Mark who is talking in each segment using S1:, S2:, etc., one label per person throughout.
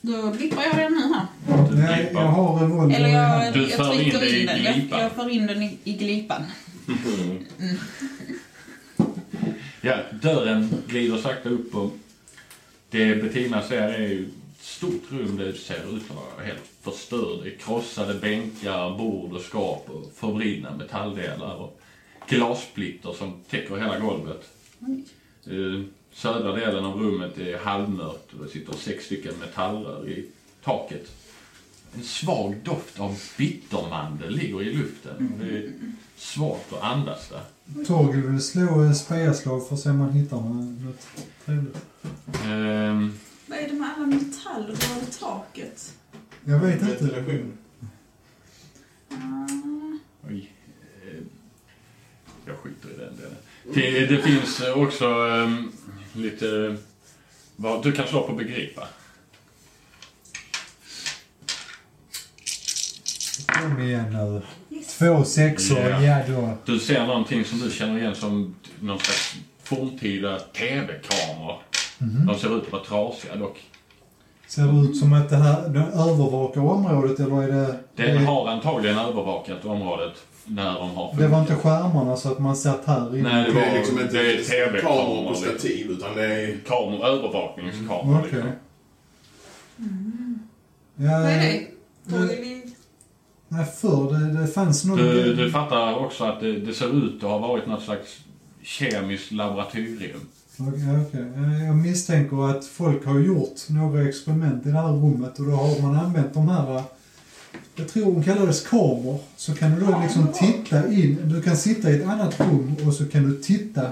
S1: Då blippar jag den nu här.
S2: Du
S3: Nej, jag
S2: blippar.
S3: har revolver
S1: Eller jag,
S2: Mm. Du
S1: jag
S2: för in
S1: trycker
S2: det i
S1: in den. Jag,
S2: glipan.
S1: jag för in den i, i glipan.
S2: Ja, dörren glider sakta upp och det Bettina ser är ett stort rum. Det ser ut att vara helt förstört. Det är krossade bänkar, bord och skap och förbrinna metalldelar och glassplitter som täcker hela golvet. Eh, södra delen av rummet är halvmörkt och det sitter sex stycken metallrör i taket. En svag doft av bittermandel ligger i luften. och Det är svårt att andas där.
S3: Torgil vill slå ett spejaslag för att se om man hittar något trevligt.
S2: Ehm,
S1: Vad är det med alla metallrör i taket?
S3: Jag vet inte.
S4: Ventilation.
S1: Ah,
S2: Oj. eh, Jag skiter i den delen. Det, det finns eh, också ehm, lite... eh, Vad, du kan slå på begripa.
S3: Kom igen nu.
S1: yes.
S3: Två sexor,
S2: Ja.
S3: ja då.
S2: Du ser någonting som du känner igen som t- någon slags forntida TV-kameror.
S3: Mhm.
S2: De ser ut att vara trasiga dock.
S3: Ser det ut som att det här, den övervakar området eller är det...
S2: Den
S3: det,
S2: har antagligen övervakat området när de har
S3: det var inte skärmarna så att man satt här inne?
S2: Nej, det
S4: Det
S2: var
S4: är liksom inte
S2: det är
S4: kameror på
S2: TV-kameror. liksom.
S4: stativ utan det är...
S2: Kameror, övervakningskameror
S3: Okej.
S2: liksom. Mm.
S3: Ja,
S1: Vad är det? Torgel i-
S3: Nej, förr det, det fanns nog...
S2: Du, du fattar också att det, det ser ut att ha varit något slags kemiskt laboratorium.
S3: Okej, okej. Eh, Jag misstänker att folk har gjort några experiment i det här rummet och då har man använt de här, eh, jag tror hon kallades kameror, så kan du då liksom titta in, du kan sitta i ett annat rum och så kan du titta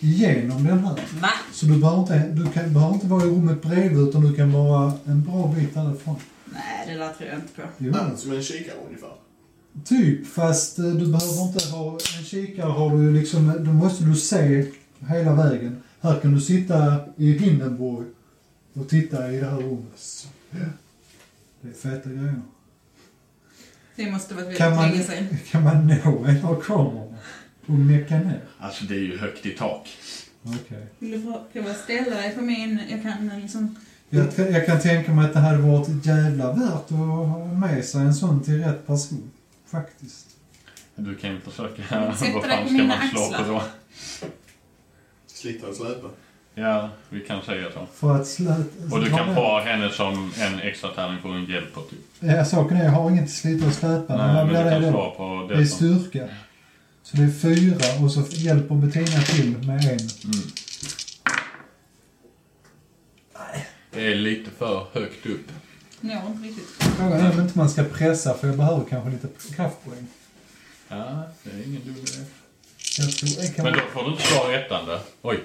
S3: igenom den här.
S1: Va?
S3: Så du behöver inte, du kan, behöver inte vara i rummet bredvid utan du kan vara en bra bit därifrån.
S1: Nej, det där tror jag inte på.
S3: Jo.
S4: Ah, Som en kikare ungefär.
S3: Typ, fast eh, du behöver inte ha en kikare. Har du ju liksom, då måste du se hela vägen. Här kan du sitta i Hindenburg och titta i det här rummet. Så, ja. Det är feta grejer.
S1: Det måste varit
S3: Kan
S1: väldigt
S3: man,
S1: länge sedan.
S3: kan man nå en av kamerorna och mecka ner?
S2: Alltså det är ju högt i tak.
S3: Okej.
S1: Vill du få- prova att ställa dig på min? Jag kan eh, liksom...
S3: Jag, t- jag kan tänka mig att det hade varit ett jävla värt att ha med sig en sån till rätt person. Faktiskt.
S2: Du kan ju försöka...
S1: Sätter dig
S2: Vad
S1: på
S2: fan ska
S1: mina
S2: man slå på
S1: axlar.
S2: då?
S4: Slita och släpa.
S2: Ja, vi kan säga så.
S3: För att slöt...
S2: Och du kan ha henne som en extra tärning för en hjälper typ.
S3: Ja, saken är, jag har inget att slita och släpa. med.
S2: Nej,
S3: Vad
S2: men
S3: blir
S2: du
S3: det
S2: kan
S3: då?
S2: slå på
S3: Det är
S2: det som...
S3: styrka. Så det är fyra och så hjälper Bettina till med en.
S2: Mm. Det är lite för högt upp.
S1: Når inte riktigt.
S3: Frågan är om inte man ska pressa för jag behöver kanske lite kraftpoäng.
S2: Ja, det är ingen dum idé.
S3: Jag tror jag kan...
S2: Men då får du inte slå rättande. Oj.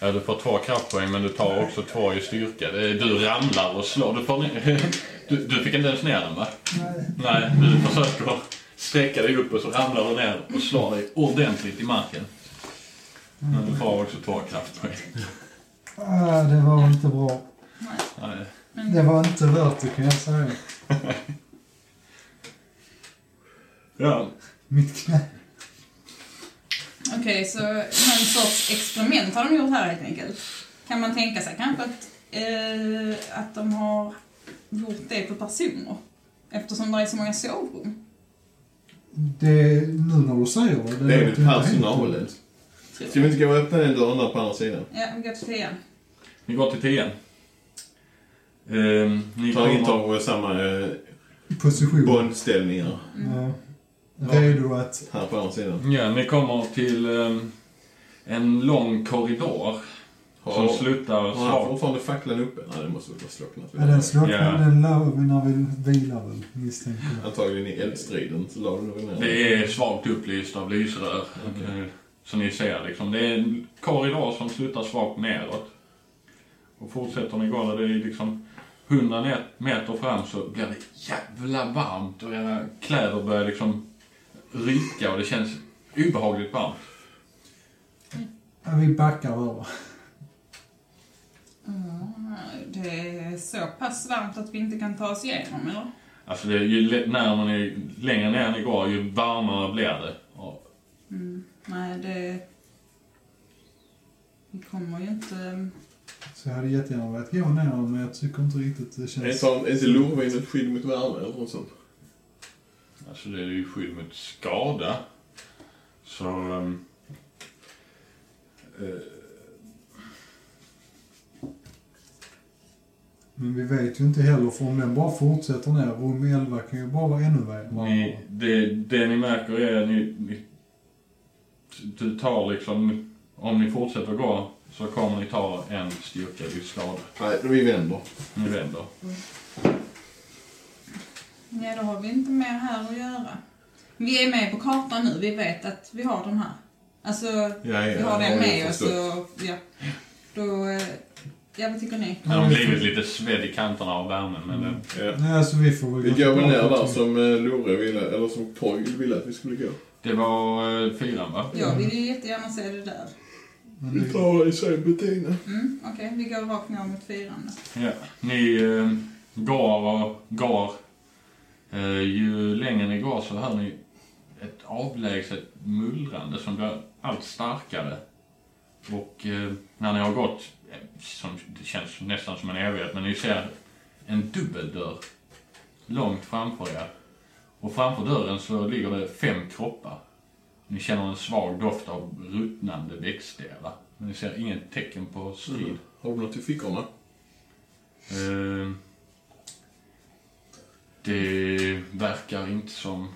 S2: Ja, du får två kraftpoäng men du tar också två i styrka. Det är- Du ramlar och slår. Du, får ner... du, du fick inte ens ner den va?
S3: Nej.
S2: Nej, du försöker sträcka dig upp och så ramlar du ner och slår dig ordentligt i marken. Men du får också två kraftpoäng.
S3: Ah, det var inte bra.
S1: Nej.
S2: Nej.
S1: Men
S3: Det var inte värt det kan jag säga.
S2: Ja.
S3: Mitt knä.
S1: Okej, så någon sorts experiment har de gjort här helt enkelt. Kan man tänka sig kanske att, eh, att de har gjort det på personer? Eftersom det är så många sovrum.
S3: Det, nu när du säger det.
S4: Det är
S3: låter
S4: väl
S3: ju inte helt dumt.
S4: personalet.
S1: Tror
S4: Ska
S1: jag.
S4: vi inte gå och öppna den dörren där på andra sidan?
S1: Ja, vi går till tian.
S2: Ni går till tian. Ehm, ni
S4: Ta
S2: kommer...
S4: intar samma eh,
S3: Position.
S4: bondställningar
S1: Mm.
S3: Ja. Redo att...
S4: här på andra sidan.
S2: Ja, ni kommer till ehm, en lång korridor som
S4: Har
S2: slutar
S4: har han
S2: svagt
S4: fortfarande facklan uppe? Nej, det måste väl ha slocknat.
S3: Ja,
S4: vid det här.
S3: den slog
S2: Ja.
S3: den la vi när vi vilar väl, misstänker jag.
S4: Antagligen i eldstriden så la du nog ner den.
S2: Det är svagt upplyst av lysrör. eh, Så ni ser liksom. Det är en korridor som slutar svagt neråt. Och fortsätter ni gå där det är liksom 100 net- meter fram så blir det jävla varmt och era kläder börjar liksom ryka och det känns obehagligt varmt.
S3: Ja, vi backar över.
S1: Mm, Det är så pass varmt att vi inte kan ta oss igenom, eller?
S2: Alltså det är ju le- närmare ni, längre ner ni går ju varmare blir det. Och
S1: Mm. Nej, det... Vi kommer ju inte...
S3: Så jag hade jättegärna velat gå ner men jag tycker inte riktigt det
S4: Är
S3: känns...
S4: inte- är inte lorvin ett skydd mot värme eller något sånt?
S2: Alltså det är ju skydd mot skada. Så... ehm, eh,
S3: Men vi vet ju inte heller för om den bara fortsätter ner, rum 11 kan ju bara vara ännu värre.
S2: Ni,
S4: Mm.
S2: det, det ni märker är att ni, ni, du tar liksom, om ni fortsätter gå så kommer ni ta en styrka i skada.
S4: Nej, vi vänder.
S2: Ni vänder.
S1: Nej, då har vi inte mer här att göra. Vi är med på kartan nu, vi vet att vi har den här. Alltså,
S4: Ja,
S1: vi har den med oss och ja. Då, eh, ja vad tycker ni?
S2: Den har blivit lite svedd i kanterna av värmen men den,
S4: Ja.
S3: Nej, alltså vi får väl
S4: Vi
S3: gå
S4: går väl ner
S3: tillbaka
S4: där
S3: till-
S4: som eh, Lore ville, eller som Torgil ville att vi skulle gå.
S2: det var eh, fyran va?
S1: Jag vill ju jättegärna se det där.
S3: Men
S4: Vi
S3: det-
S4: tar i sig Bettina.
S1: Mm, okej, vi går rakt ner mot fyran då.
S2: Ja. Ni eh, går och går. Eh, ju längre ni går så hör ni ett avlägset mullrande som blir allt starkare. Och eh, när ni har gått, eh, som, det känns nästan som en evighet, men ni ser en dubbeldörr långt framför er. Och framför dörren så ligger det fem kroppar. Ni känner en svag doft av ruttnande växtdelar. Men ni ser inget tecken på strid.
S4: Har du något i fickorna?
S2: Eh, Det verkar inte som...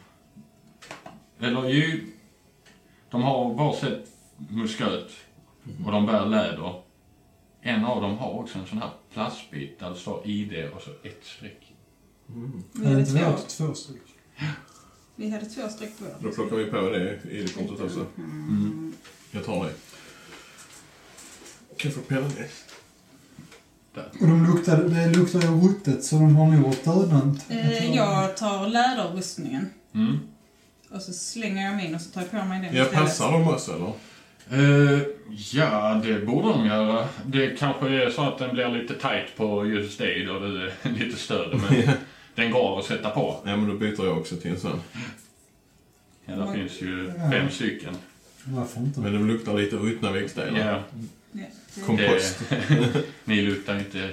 S2: Eller ju... De har varsitt musköt och de bär läder. En av dem har också en sån här plastbit där det står ID och så ett streck.
S1: Vi
S3: Nej,
S1: hade
S3: inte vi
S1: två,
S3: åt två stycken.
S1: vi hade två streck på
S4: Då
S1: vår.
S4: plockar vi på det i det kortet också.
S2: Mm.
S4: Jag tar det. Kan jag få pennan det?
S3: Och de luktade, det luktar ju ruttet så de har nog varit dödande.
S1: Eh, jag tar läderrustningen
S2: Mm.
S1: och så slänger jag min och så tar jag på mig den
S4: Jag passar dem också eller?
S2: Eh, ja, det borde de göra. Det kanske är så att den blir lite tight på just dig då du är lite större. Men den går att sätta på.
S4: Ja men då byter jag också till en sån.
S2: Ja, där finns ju fem stycken.
S3: Varför inte?
S4: Men de luktar lite ruttna växtdelar.
S2: Ja,
S1: Ja, det-
S4: Kom. Kompost.
S2: Det, Eh, ni luktar inte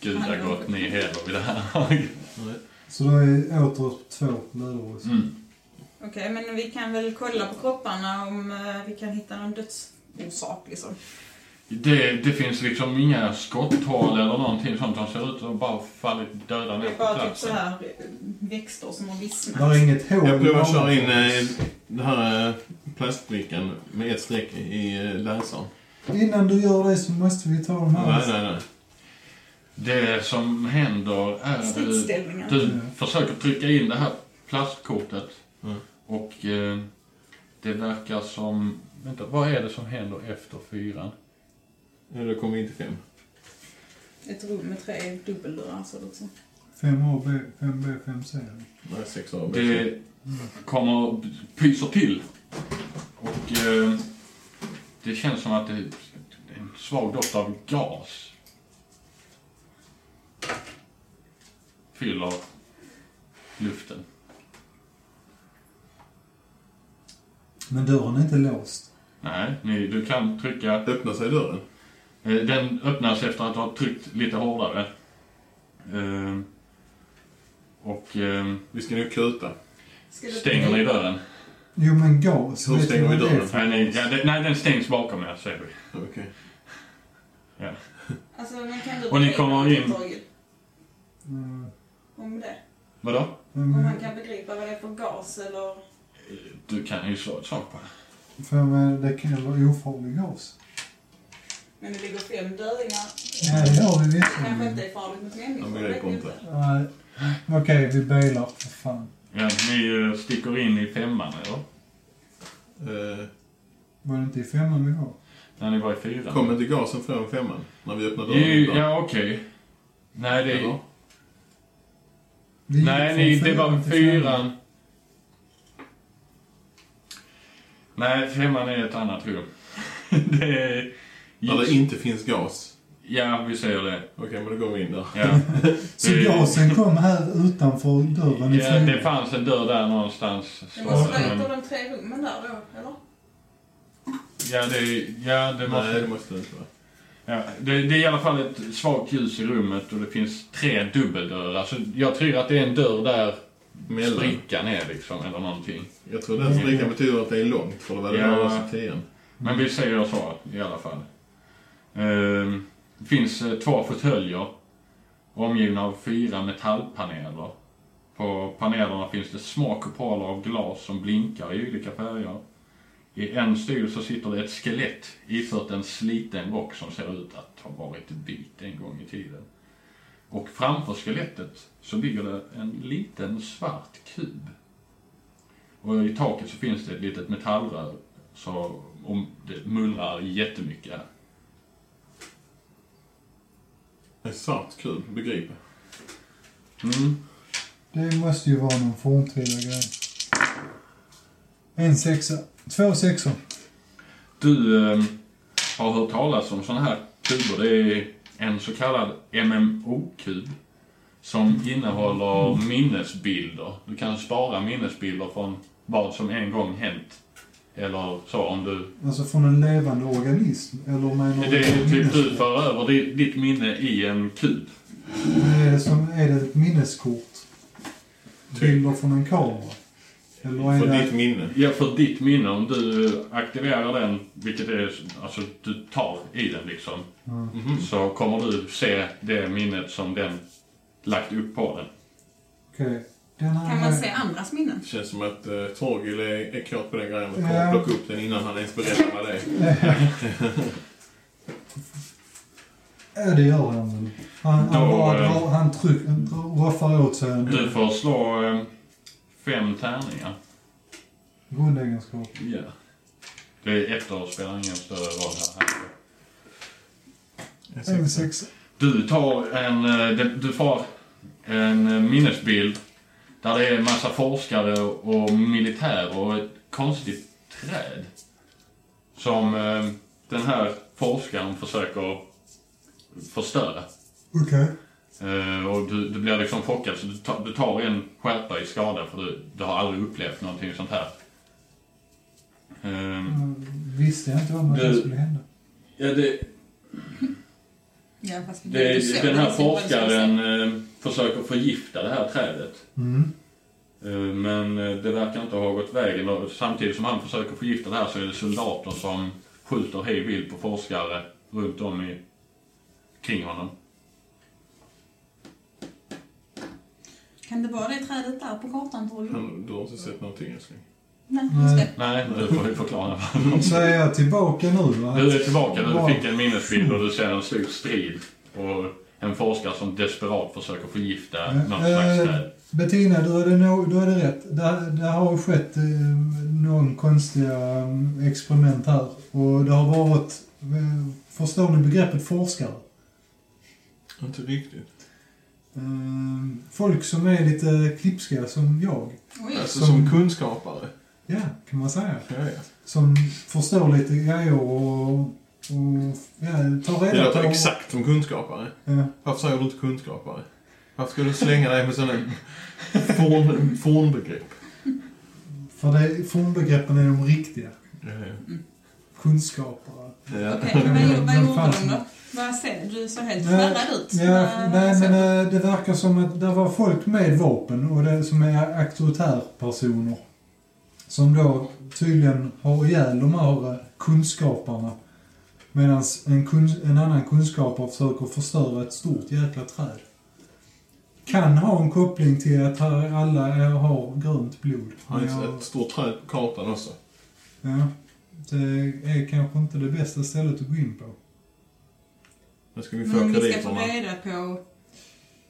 S2: gudagott ni heller vid det här laget.
S3: Så då är åter två läror. Mm.
S1: Okej, men vi kan väl kolla på kropparna om eh, vi kan hitta någon dödsorsak liksom.
S2: Det, det finns liksom inga skotthål eller någonting sånt som ser ut att bara fallit döda
S1: Det
S2: ner
S1: är
S2: på
S1: bara typ så
S2: platsen.
S1: här eh, växter som har
S3: Där är
S1: vissnat.
S3: inget hål.
S4: Jag provar att köra in
S3: i
S4: eh, den här eh, plastbrickan med ett streck i eh, läsaren.
S3: banan. Innan du gör det så måste vi ta de
S4: eh, Nej,
S3: här.
S4: nej, nej.
S2: Det som händer är...
S1: Stridsställningar.
S2: Du försöker trycka in det här plastkortet.
S4: Mm.
S2: Och eh, det verkar som... Vänta, vad är det som händer efter fyran?
S4: Ja, då kommer vi in till fem.
S1: Ett rum med tre dubbeldörrar så liksom.
S3: 5A, 5B, 5C.
S4: Nej, sex av
S2: Det kommer, pyser till. Och eh, det känns som att det är en svag doft av gas. Fyller luften.
S3: Men dörren är inte låst.
S2: Nej, ni, du kan trycka. eh,
S4: Öppnar sig dörren?
S2: Den öppnas efter att du har tryckt lite hårdare. Eh, och eh,
S4: Vi ska nu kuta.
S1: Ska du-
S2: stänger ni dörren.
S3: Jo men gas.
S4: Hur
S3: vet
S4: stänger
S3: du
S4: vi
S3: vad det är
S4: dörren?
S3: för-
S2: Nej, ni, ja, det, nej den stängs bakom er, säger vi.
S4: Okej.
S1: Alltså, men kan du
S2: Och ni
S1: begripa
S2: kommer
S1: något,
S2: in.
S1: Torgil,
S3: Mm,
S1: Om det?
S2: Vadå?
S1: Om
S3: Men,
S1: man kan begripa vad det är för gas eller...
S2: Du kan ju slå ett slag på det.
S3: för men det kan ju vara ofarlig gas.
S1: Men det ligger fem döingar.
S3: Nej, det gör vi
S1: Kanske inte
S3: visserligen.
S1: är farligt mot
S4: Ja,
S1: människor.
S4: men det
S1: vet
S4: går
S1: vi
S4: inte.
S3: Nej. Okej, vi bailar för fan.
S2: Ja, ni eh, sticker in i femman eller?
S4: Eh,
S3: Var det inte i femman vi var?
S2: När ni var i fyran?
S4: kom inte gasen från femman? När vi öppnade dörren?
S2: Ju,
S4: där?
S2: ja, okej. Nej, det,
S4: Eller?
S3: Vi gick
S2: nej
S3: från
S2: ni, det
S3: femman
S2: var
S3: till femman.
S2: fyran. Nej, femman är ett annat rum. det är...
S4: Där det inte finns gas.
S2: Ja, vi säger det.
S4: Okej, men då går vi in där.
S2: Ja.
S3: Så gasen kom här utanför dörren i
S2: ja, det
S3: femman?
S2: fanns en dörr där någonstans.
S1: Det
S2: Så,
S1: måste vara ett
S2: ehm,
S1: av de tre rummen där då, eller?
S2: ja, det, ja, det
S4: Nej,
S2: måste...
S4: det måste det inte vara.
S2: Ja, det, det är i alla fall ett svagt ljus i rummet och det finns tre dubbeldörrar. Så jag tror att det är en dörr där
S4: Mellan.
S2: sprickan är liksom, eller någonting.
S4: Jag tror den sprickan betyder att det är långt, för det var det
S2: Ja.
S4: närmaste tiden.
S2: Men vi säger så i alla fall. Ehm, Det finns eh, två fåtöljer omgivna av fyra metallpaneler. På panelerna finns det små kupoler av glas som blinkar i olika färger. I en stol så sitter det ett skelett ifört en sliten rock som ser ut att ha varit vit en gång i tiden. Och framför skelettet så ligger det en liten svart kub. Och i taket så finns det ett litet metallrör så om det mullrar jättemycket här.
S4: En svart kub, begriper.
S2: Mm.
S3: Det måste ju vara någon forntida grej. En sexa. Två sexor.
S2: Du eh, har hört talas om sådana här kuber. Det är en så kallad MMO-kub som innehåller minnesbilder. Du kan spara minnesbilder från vad som en gång hänt. Eller så om du...
S3: Alltså från en levande organism. Eller med någon...
S2: Det är typ du
S3: minnes-
S2: för över di- ditt minne i en kub.
S3: Är det Eh, som, är det ett minneskort? Bilder från en kamera? Eller är
S4: För
S3: det...
S4: ditt minne.
S2: Ja, för ditt minne, om du aktiverar den, vilket är, alltså du tar i den liksom,
S3: Mm.
S4: Mhm.
S2: så kommer du se det minnet som den lagt upp på den.
S3: Okej. Den här...
S1: Kan man se andras minnen?
S4: Det känns som att eh, Torgil är, är kåt på den grejen och kommer
S3: Ja.
S4: plocka upp den innan han ens berättar vad det är.
S3: Ja, det gör han väl. Han, han,
S2: Då,
S3: bara
S2: eh,
S3: drar, han tryck, han drar- roffar åt sig en
S2: Du får slå eh, fem tärningar.
S3: grundegenskap.
S2: Ja. Det är efter spelar ingen större roll här.
S3: En sexa.
S2: Du tar en, eh, det- du får en eh, minnesbild där det är en massa forskare och militär och ett konstigt träd. Som eh, den här forskaren försöker förstöra.
S3: Okej.
S2: Eh, och du, du blir liksom chockad så du, tar- du tar en skärpa i skada för du, du har aldrig upplevt någonting sånt här. Eh,
S3: Mm, Visste jag inte vad
S2: Du-
S3: det skulle hända.
S2: ja, det,
S1: Ja, fast
S2: det,
S1: du ser
S2: den här
S1: precis vad du ska se.
S2: forskaren eh, försöker förgifta det här trädet.
S3: Mm.
S2: Eh, Men eh, det verkar inte ha gått vägen. Och Samtidigt som han försöker förgifta det här så är det soldater som skjuter hej vilt på forskare runt om i, kring honom.
S1: Kan det vara det trädet där på kartan, tror
S3: Mm.
S1: du?
S4: Han, du har inte sett någonting älskling.
S1: Nej, just det.
S2: Nej, du får ju förklara.
S3: Mm. Så är jag tillbaka nu va?
S2: Du är tillbaka,
S3: Wow.
S2: du fick en minnesbild och du ser en stor strid. Och en forskare som desperat försöker förgifta något slags
S3: Eh,
S2: träd.
S3: Bettina, du hade, no, du hade rätt. Det, det har ju skett eh, någon konstiga eh, experiment här. Och det har varit... Eh, förstår ni begreppet forskare?
S4: Inte riktigt.
S3: Eh, folk som är lite klipska som jag.
S1: Oj.
S4: Alltså
S3: Som-
S4: som, kunskapare.
S3: Ja, kan man säga.
S4: Ja, ja.
S3: Som förstår lite grejer och... och ja, tar
S4: Det
S3: reda på...
S4: låter exakt som kunskapare.
S3: Ja.
S4: Varför säger du inte kunskapare? Varför ska du slänga dig med sådana forn, fornbegrepp?
S3: För det, formbegreppen är de riktiga.
S4: Ja, ja.
S3: Kunskapare.
S4: Ja.
S1: Okej, men vad
S3: Men
S1: gjorde
S3: fan.
S1: de då? Vad ser du? Du ser helt
S3: Nej,
S1: skärrad ut.
S3: Ja,
S1: Vad-
S3: nej,
S1: så-
S3: men eh, det verkar som att det var folk med vapen och det som är auktoritärpersoner. Som då tydligen har ihjäl de här eh, kunskaparna. Medan en, kun, en annan kunskapare försöker förstöra ett stort jäkla träd. Kan ha en koppling till att här alla är, har grönt blod.
S4: Han
S3: Men
S4: har
S3: jag-
S4: ett stort träd på kartan också.
S3: Ja, det är kanske inte det bästa stället att gå in på.
S4: Nu ska vi få
S1: Men om Mm, vi ska få
S4: krediterna.
S1: reda på...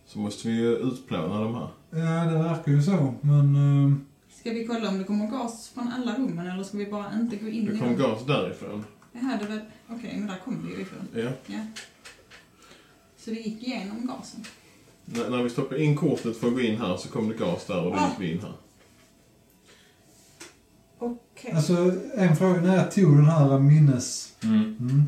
S4: Så måste vi ju utplåna de här.
S3: Ja, det verkar ju så, men... eh,
S1: Ska vi kolla om det kommer gas från alla rummen eller ska vi bara inte gå in
S4: Det
S1: i
S4: kom
S1: dem?
S4: gas därifrån.
S1: Det här, det var... Okej, men där kom det ju ifrån.
S4: Ja.
S1: Ja. Så det gick igenom gasen.
S4: N- när vi stoppade in kortet för att gå in här så kom det gas där och då
S1: Ah.
S4: gick vi in här.
S1: Okej.
S3: Alltså, en fråga. När jag tog den här minnes...
S2: Mm.
S3: Mm,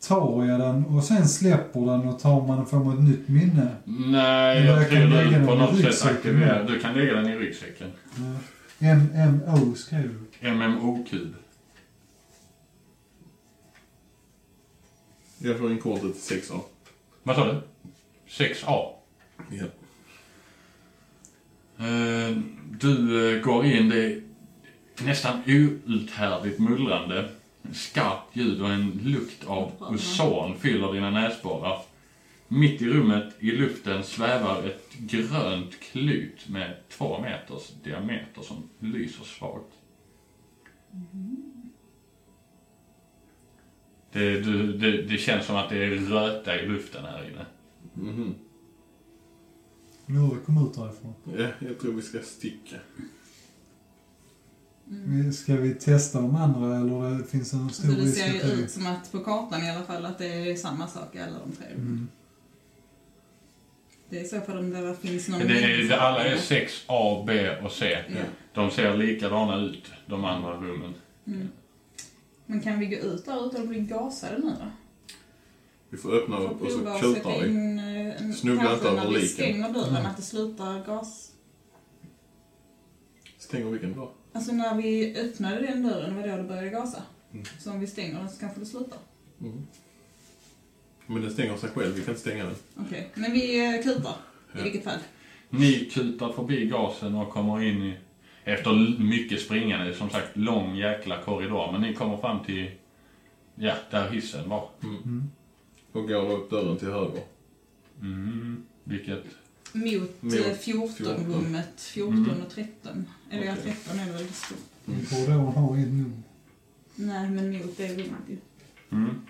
S3: tar jag den och sen släpper den och tar man får man ett nytt minne?
S2: Nej,
S3: Men
S2: jag
S3: jag
S2: tror
S3: kan lägga
S2: du
S3: den
S2: på
S3: i
S2: något sätt
S3: ryggsäcken.
S2: aktiverar... Du kan lägga den i ryggsäcken.
S3: Eh, MMO skrev du.
S2: MMO-kub.
S4: Jag får en kod till 6A.
S2: Vad sa du? 6A.
S4: Ja.
S2: Eh, Du eh, går in, det är nästan outhärdligt mullrande. Skarpt ljud och en lukt av ozon fyller dina näsborrar. Mitt i rummet i luften svävar ett grönt klut med två meters diameter som lyser svagt. Det, du, det, det känns som att det är röta i luften här inne.
S4: Mhm.
S3: Nora, kom ut därifrån.
S4: Ja, jag tror vi ska sticka.
S3: Ska vi testa de andra eller finns det någon
S1: Mm. Så
S3: stor
S1: det
S3: risk
S1: ser ju
S3: att det...
S1: ut som att på kartan i alla fall att det är samma sak i alla de tre.
S3: Mm.
S1: Det är i så fall om det där finns någon...
S2: Det, är- det, alla är
S4: Mm.
S1: Ja.
S2: 6A, B och C.
S1: Ja.
S2: De ser likadana ut, de andra rummen.
S1: Mm. Men kan vi gå ut där utan att bli gasade nu då?
S4: Vi får öppna
S1: Får
S4: upp och
S1: prova
S4: så
S1: att
S4: tjutar
S1: sätta
S4: vi.
S1: in... eh, en-
S4: Snubbla
S1: kanske
S4: inte över
S1: när vi
S4: liken.
S1: stänger dörren,
S3: Mm.
S1: att det slutar gas...
S4: Stänger vilken dag?
S1: Alltså när vi öppnade den dörren var då det började gasa.
S4: Mm.
S1: Så om vi stänger den så kanske det slutar.
S4: Mhm. Men den stänger sig själv, vi kan inte stänga den.
S1: Okej, men vi eh, kutar
S4: Ja.
S1: i vilket fall.
S2: Ni kutar förbi gasen och kommer in i, efter l- mycket springande, som sagt lång jäkla korridor, men ni kommer fram till, ja, där hissen var.
S3: Mm.
S4: Och går då upp dörren till höger.
S2: Mm, vilket,
S1: Mot,
S4: Mot
S1: eh, 14
S4: 14.
S1: rummet, 14
S2: Mm.
S1: och 13. Eller ja,
S4: Okej.
S1: 13 är väl stort.
S4: Mm.
S3: Korridoren har inget nummer.
S1: Nej, men mot det rummet ju.
S2: mm.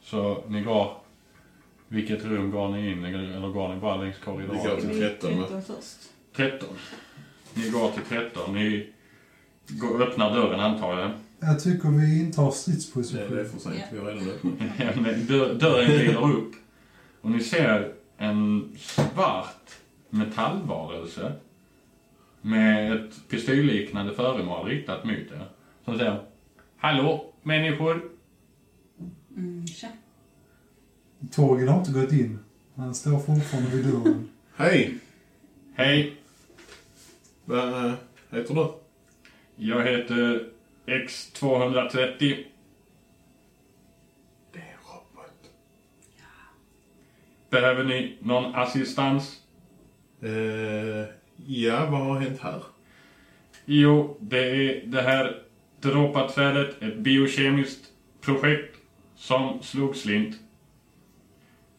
S2: Så ni går, vilket rum går ni in i, eller går ni bara längs korridoren?
S4: Vi går till-
S1: Vi-
S4: 13, va?
S1: 13 först.
S2: 13. Ni går till 13, ni går, öppnar dörren antar jag.
S3: Jag tycker vi intar
S4: Nej, det är
S3: stridsposition.
S4: för sent. Vi har redan öppnat.
S2: Men dör- Dörren glider upp och ni ser en svart metallvarelse med ett pistolliknande föremål riktat mot er. Som säger Hallå människor!
S1: Mm, tja.
S3: Torgil har inte gått in. Han står fortfarande vid dörren.
S4: Hej!
S2: Hej!
S4: Vad eh, heter du?
S2: Jag heter X230.
S4: Det är en robot.
S2: Behöver ni någon assistans?
S4: Eh, ja, vad har hänt här?
S2: Jo, det är det här dråpaträdet, ett biokemiskt projekt som slog slint.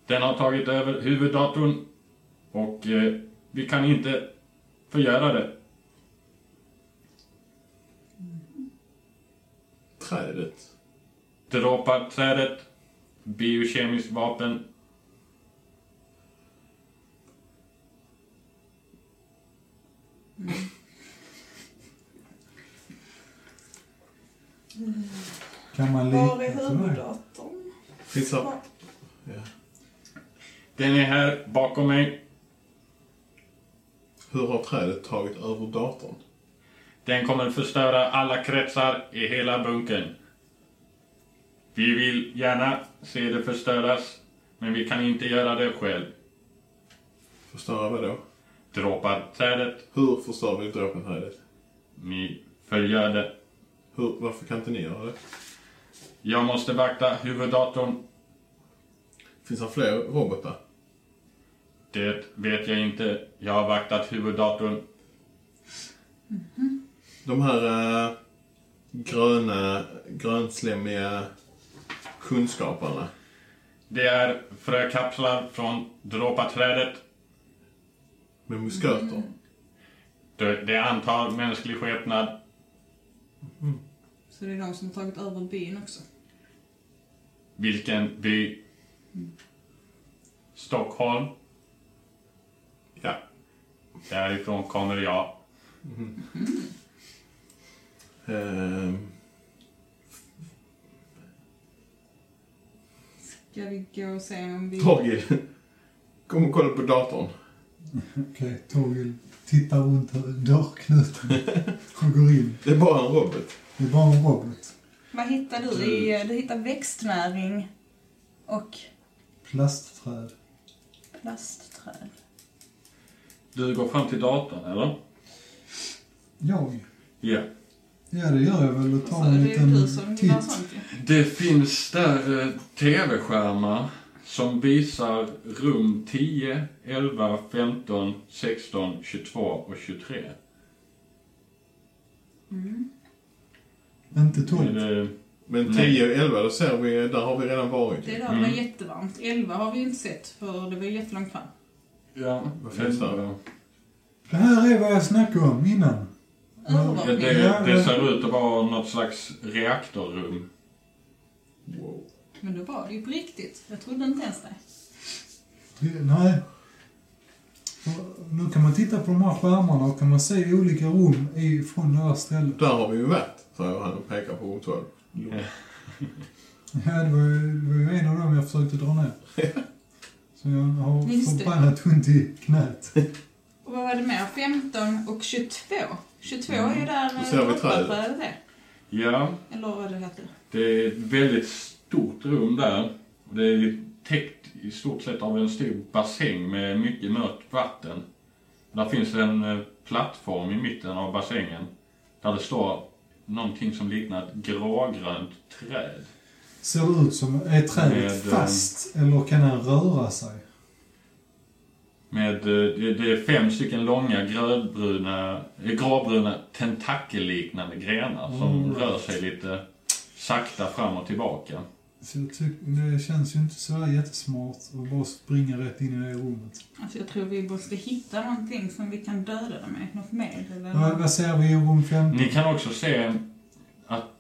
S2: Den har tagit över huvuddatorn och eh, vi kan inte förgöra det.
S4: Trädet.
S2: Dråpaträdet, biokemiskt vapen.
S3: Kan man
S1: Var är
S3: lita på det?
S1: huvuddatorn?
S4: Finns här... Ja.
S2: Den är här bakom mig.
S4: Hur har trädet tagit över datorn?
S2: Den kommer förstöra alla kretsar i hela bunkern. Vi vill gärna se det förstöras, men vi kan inte göra det själv.
S4: Förstöra vad då?
S2: Dråpaträdet,
S4: Hur förstör vi dråpaträdet?
S2: ni förgör det.
S4: Hur... Varför kan inte ni göra det?
S2: Jag måste vakta huvuddatorn.
S4: Finns det fler robotar?
S2: Det vet jag inte. Jag har vaktat huvuddatorn.
S4: De här eh, gröna, grönslemmiga kunskaparna.
S2: Det är frökapslar från dråpaträdet.
S4: Med musköter.
S1: Mm.
S2: Det det antar mänsklig skepnad.
S1: Så det är de som har tagit över byn också.
S2: Vilken by? Stockholm.
S4: Ja.
S2: Därifrån kommer jag.
S4: Ehm,
S1: Ska vi gå och se om vi...
S4: Torgil. Kom och kolla på datorn.
S3: Okej, Torgil tittar runt dörrknuten och går in.
S4: Det är bara en robot.
S3: Det är bara en robot.
S1: Vad hittar du? I, eh, du hittar växtnäring och
S3: Plastträd.
S1: plastträd.
S2: Du går fram till datorn, eller?
S3: Jag?
S2: Ja.
S3: Ja, det gör jag väl. Och
S1: Så
S3: tar en
S1: det är ju du
S3: liten
S1: som gillar
S3: titt.
S1: sånt ju.
S2: Det finns där eh, tv-skärmar som visar rum 10, 11, 15, 16, 22 och 23.
S1: Mm.
S3: Inte
S2: Är
S3: tomt.
S2: det-
S4: Men
S2: Nej.
S4: 10 och 11, då ser vi, där har vi redan varit.
S1: Det där var
S2: Mm.
S1: jättevarmt. 11 har vi inte sett för det var jättelångt fram.
S2: Ja,
S4: Vad finns där?
S2: eh,
S3: Det här är vad jag snackade om innan.
S2: ja,
S1: Övervakning.
S2: det, det ser ut att vara något slags reaktorrum.
S4: Wow.
S1: Men då var det ju på riktigt. Jag trodde inte ens det.
S3: Nej. Och Nu kan man titta på de här skärmarna och kan man se olika rum i- från det här stället.
S4: Där har vi ju varit, säger han och pekar på rum 12.
S2: Ja.
S3: Ja, det var, ju, det var ju en av dem jag försökte dra ner. Så jag har
S1: Just det.
S3: förbannat ont i knät.
S1: Och vad var det mer? 15 och 22. 22 är ju
S4: Mm. Då
S1: där eh,
S4: ser vi trädet.
S1: trädet är.
S2: Ja,
S1: Eller vad det heter.
S2: det är ett väldigt stort rum där. Och Det är täckt i stort sett av en stor bassäng med mycket mörkt vatten. Där finns en eh, plattform i mitten av bassängen där det står någonting som liknar ett grågrönt träd.
S3: Ser det ut som, är trädet
S2: Med, eh,
S3: fast eller kan han röra sig?
S2: Med, eh, det det är fem stycken långa grödbruna, eh, gråbruna tentakelliknande grenar som
S3: Mm.
S2: rör sig lite sakta fram och tillbaka.
S3: Så jag tyck, det känns ju inte sådär jättesmart att bara springa rätt in i det rummet.
S1: Alltså jag tror vi måste hitta någonting som vi kan döda dem med. Något mer eller?
S3: Vad, vad ser vi i rum 15?
S2: Ni kan också se att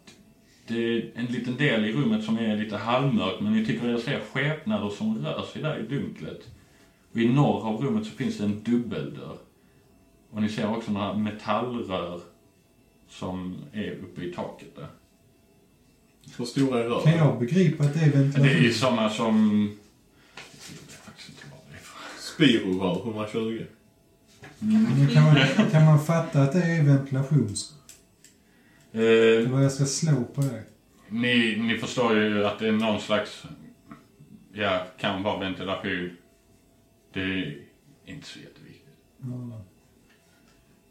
S2: det är en liten del i rummet som är lite halvmörkt men ni tycker er se skepnader som rör sig där i dunklet. Och i norr av rummet så finns det en dubbeldörr. Och ni ser också några metallrör som är uppe i taket där.
S4: Hur stora
S3: Kan
S4: är rören?
S3: jag begripa att det är
S2: Men Det är ju
S3: ventilation?
S2: samma som... Jag vet faktiskt inte vad det är för...
S4: Spirorör 120.
S3: Men Kan man, kan man fatta att det är ventilation?
S2: Eh,
S3: Eller jag ska slå på det?
S2: ni, ni förstår ju att det är någon slags... Ja, kan vara ventilation. Det är inte så jätteviktigt.
S3: Eller-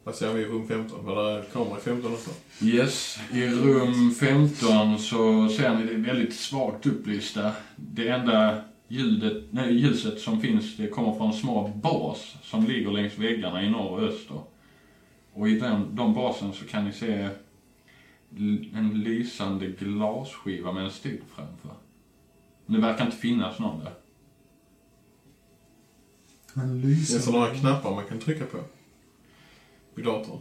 S4: Vad ser vi i rum 15? Var det kamera i 15 också?
S2: Yes, i rum 15 så ser ni det är väldigt svagt upplysta. Det enda ljudet, nej, ljuset som finns det kommer från små bas som ligger längs väggarna i norr och öster. Och i den, de basen så kan ni se l- en lysande glasskiva med en stol framför. Men det verkar inte finnas någon där.
S3: Han
S4: Det är
S3: lyser.
S4: sådana här knappar man kan trycka på. I datorn.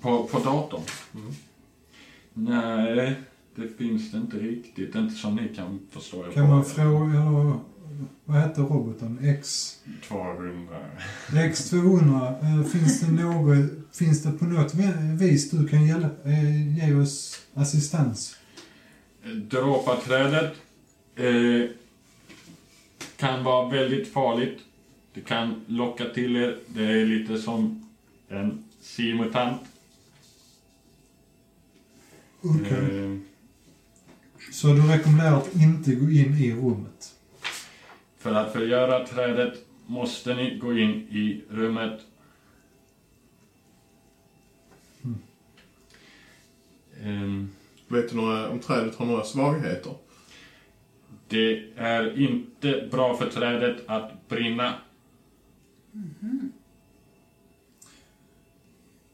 S2: På, på datorn?
S4: Mm.
S2: Nej, det finns det inte riktigt. Inte som ni kan förstå. er
S3: Kan
S2: på.
S3: man fråga, eller vad heter roboten? X?
S2: 200.
S3: X200, eh, finns det något, finns det på något vä- vis du kan hjälpa, eh, ge oss assistans?
S2: Dråpaträdet eh, kan vara väldigt farligt. Det kan locka till er. Det är lite som en simutant.
S3: Okej.
S2: Eh,
S3: Så du rekommenderar att inte gå in i rummet?
S2: för att förgöra trädet måste ni gå in i rummet.
S3: Mm.
S2: Ehm,
S4: Vet du några, om trädet har några svagheter?
S2: det är inte bra för trädet att brinna.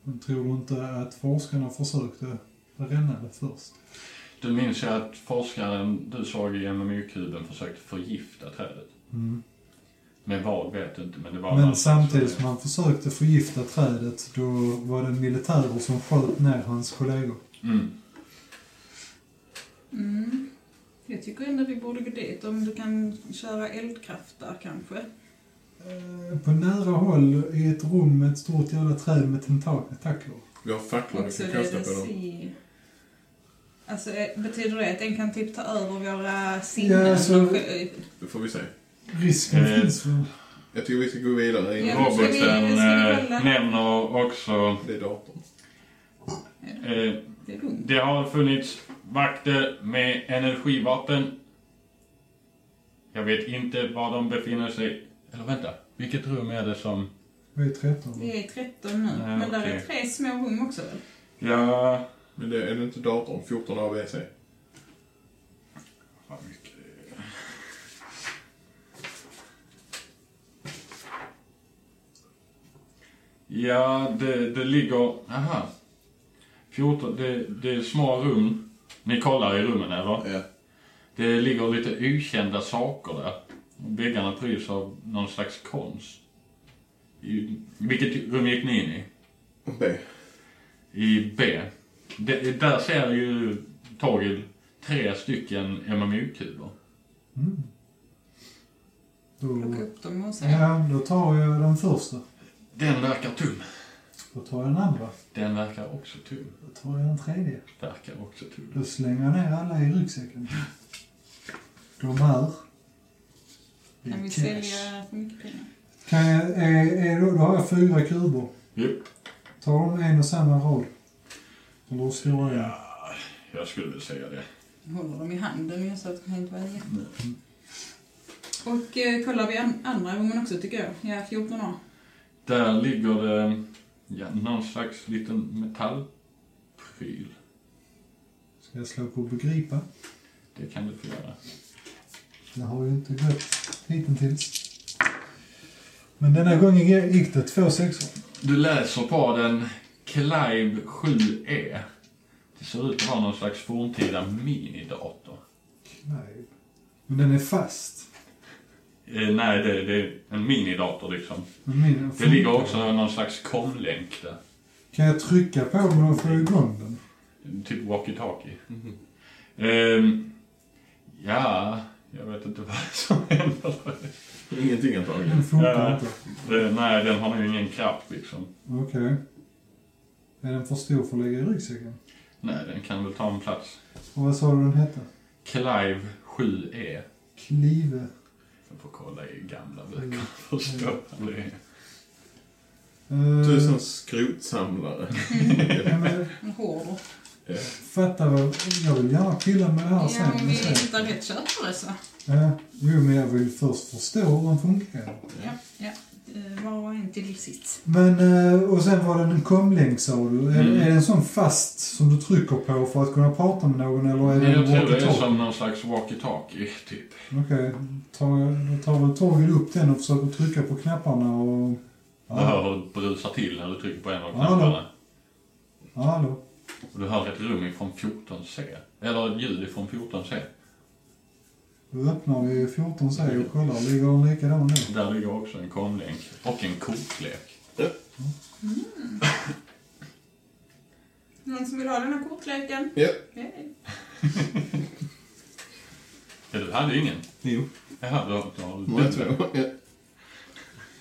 S3: Men Tror du inte att forskarna försökte bränna det först?
S2: Du minns ju att forskaren du såg i MMU-kuben försökte förgifta trädet.
S3: Mm.
S2: Men vad vet jag inte, men det var
S3: Men
S2: något
S3: samtidigt
S2: som-
S3: som han försökte förgifta trädet, då var det militärer som sköt ner hans kollegor.
S2: Mm.
S1: Mm. Jag tycker ändå vi borde gå dit. Om du kan köra eldkraft där kanske.
S3: Eh, På nära håll i ett rum med ett stort jävla träd med tentakler.
S4: Vi har facklor
S1: Och
S4: vi
S1: så
S4: kan kasta på
S1: det
S4: dem.
S1: i... Alltså eh, betyder det att den kan typ ta över våra sinnen? eh,
S3: Ja, alltså- så-
S4: Det får vi se.
S3: Risken
S2: Eh,
S3: finns väl?
S4: Jag tycker vi ska gå vidare.
S1: Ja,
S4: In.
S1: men ska vi- ska
S2: Roboten
S1: vi kolla?
S2: eh, nämner också...
S4: Det är datorn.
S2: Eh,
S1: Det är lugnt.
S2: det har funnits vakter med energivapen. Jag vet inte var de befinner sig. Eller vänta, vilket rum är det som...
S3: Vi är 13 nu.
S1: Vi är 13 nu,
S2: Ja,
S1: men där är
S2: okej.
S1: tre små rum också väl?
S2: Ja...
S4: Men det är det inte datorn 14 ABC?
S2: Vad mycket det är. Ja, det, det ligger... Aha. 14, det, det är små rum. Ni kollar i rummen eller?
S4: Ja.
S2: Det ligger lite okända saker där. Väggarna pryds av någon slags konst. I, vilket rum gick ni in i?
S4: B.
S2: I B. Det- där ser ju Torgil tre stycken MMU-kuber.
S3: Mm. Då,
S1: Plocka upp dem och se.
S3: ja, då tar jag den första.
S2: Den verkar tum.
S3: Då tar jag den andra.
S2: Den verkar också tum.
S3: Då tar jag den tredje.
S2: Verkar också tum.
S3: Då slänger jag ner alla i ryggsäcken. De här. Det är
S1: Kan vi
S3: cash.
S1: sälja för mycket pengar?
S3: Kan jag, är, är, då, då har jag fyra kuber.
S2: Jupp.
S3: Tar de en och samma rad? Eller hur stor är den?
S2: Jag skulle väl säga det.
S1: Jag håller dem i handen ju så att de kan inte välja. Och eh, kollar vi an- andra rummen också tycker jag. Ja, 14 år.
S2: Där ligger det ja, någon slags liten metallpryl.
S3: Ska jag slå på begripa?
S2: Det kan du få göra.
S3: Det har ju inte gått hittills. Men denna gången gick det två sexor.
S2: Du läser på den Clive 7E. Det ser ut att vara någon slags forntida minidator.
S3: Nej. Men den är fast.
S2: Eh, nej, det, det är en minidator liksom.
S3: Men min,
S2: Det ligger också någon slags komlänk där.
S3: Kan jag trycka på den och få igång den?
S2: Typ walkie-talkie. Ehm, ja, jag vet inte vad som händer.
S4: Ingenting antagligen.
S3: Den funkar
S2: Ja.
S3: inte.
S2: Eh, nej, den har nog ingen kraft liksom.
S3: Okej. Är den för stor för att lägga i ryggsäcken?
S2: Nej, den kan väl ta en plats.
S3: Och vad sa du den hette?
S2: Clive 7E.
S3: Klive.
S2: Jag får kolla i gamla böcker och förstå vad det är.
S3: Eh,
S4: Du är som skrotsamlare.
S3: ja, men
S1: En hård.
S3: Fatta vad... Jag vill gärna pilla med det här
S1: Ja,
S3: sen.
S1: om
S3: men
S1: vi
S3: sen.
S1: hittar rätt köpare så.
S3: Ja, jo, men jag vill först förstå hur den funkar.
S1: Ja, ja. Eh, Var och en till sitt.
S3: Men, eh, och sen var den en komlänk sa du. Är,
S2: Mm.
S3: är det en sån fast som du trycker på för att kunna prata med någon eller är det
S2: Men
S3: en
S2: jag tror det är
S3: walkie-talkie?
S2: som någon slags walkie-talkie, typ.
S3: Okej, tar- då tar väl Torgil upp den och försöker trycka på knapparna och...
S2: Du hör hur det brusar till när du trycker på en av
S3: Ja,
S2: knapparna.
S3: Hallå?
S2: Och du hör ett rum ifrån 14C. Eller ett ljud ifrån 14C.
S3: Då öppnar vi 14 säger och kollar. Ligger den likadan nu?
S2: Där ligger också en komlänk och en kortlek.
S1: Någon som vill ha den här kortleken?
S4: Ja.
S1: Okej.
S2: Ja, du hade ingen.
S4: Jo.
S2: Jaha, då, då har du
S4: Många två. Ja.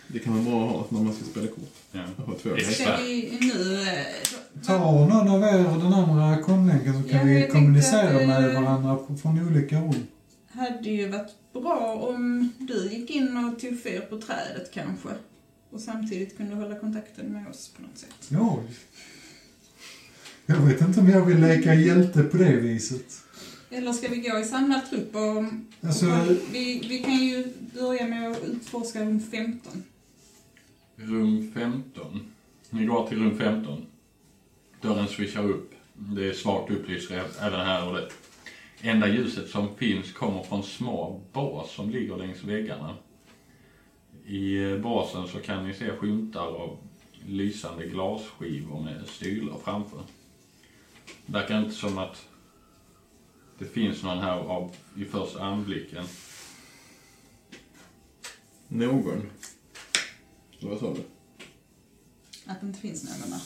S4: Det kan vara bra att ha när man ska spela kort.
S2: Ja.
S4: Att ha två.
S2: Yes.
S1: Ska vi nu... eh, då-
S3: Tar någon av er den andra komlänken så
S1: Ja,
S3: kan
S1: jag
S3: vi
S1: tänkte
S3: kommunicera
S1: att, eh,
S3: med varandra på- från olika håll.
S1: hade ju varit bra om du gick in och tog fyr på trädet kanske. Och samtidigt kunde hålla kontakten med oss på något sätt.
S3: Ja. Jag vet inte om jag vill leka hjälte på det viset.
S1: Eller ska vi gå i samlad trupp och...
S3: Alltså,
S1: vi, vi kan ju börja med att utforska rum 15.
S2: Rum 15. Ni går till rum 15. Dörren svischar upp. Det är svagt upplyst ä- även här och det enda ljuset som finns kommer från små bas som ligger längs väggarna. I eh, basen så kan ni se skymtar av lysande glasskivor med stylor framför. Det verkar inte som att det finns någon här av, i första anblicken.
S4: Någon. Vad sa du?
S1: Att det inte finns någon där.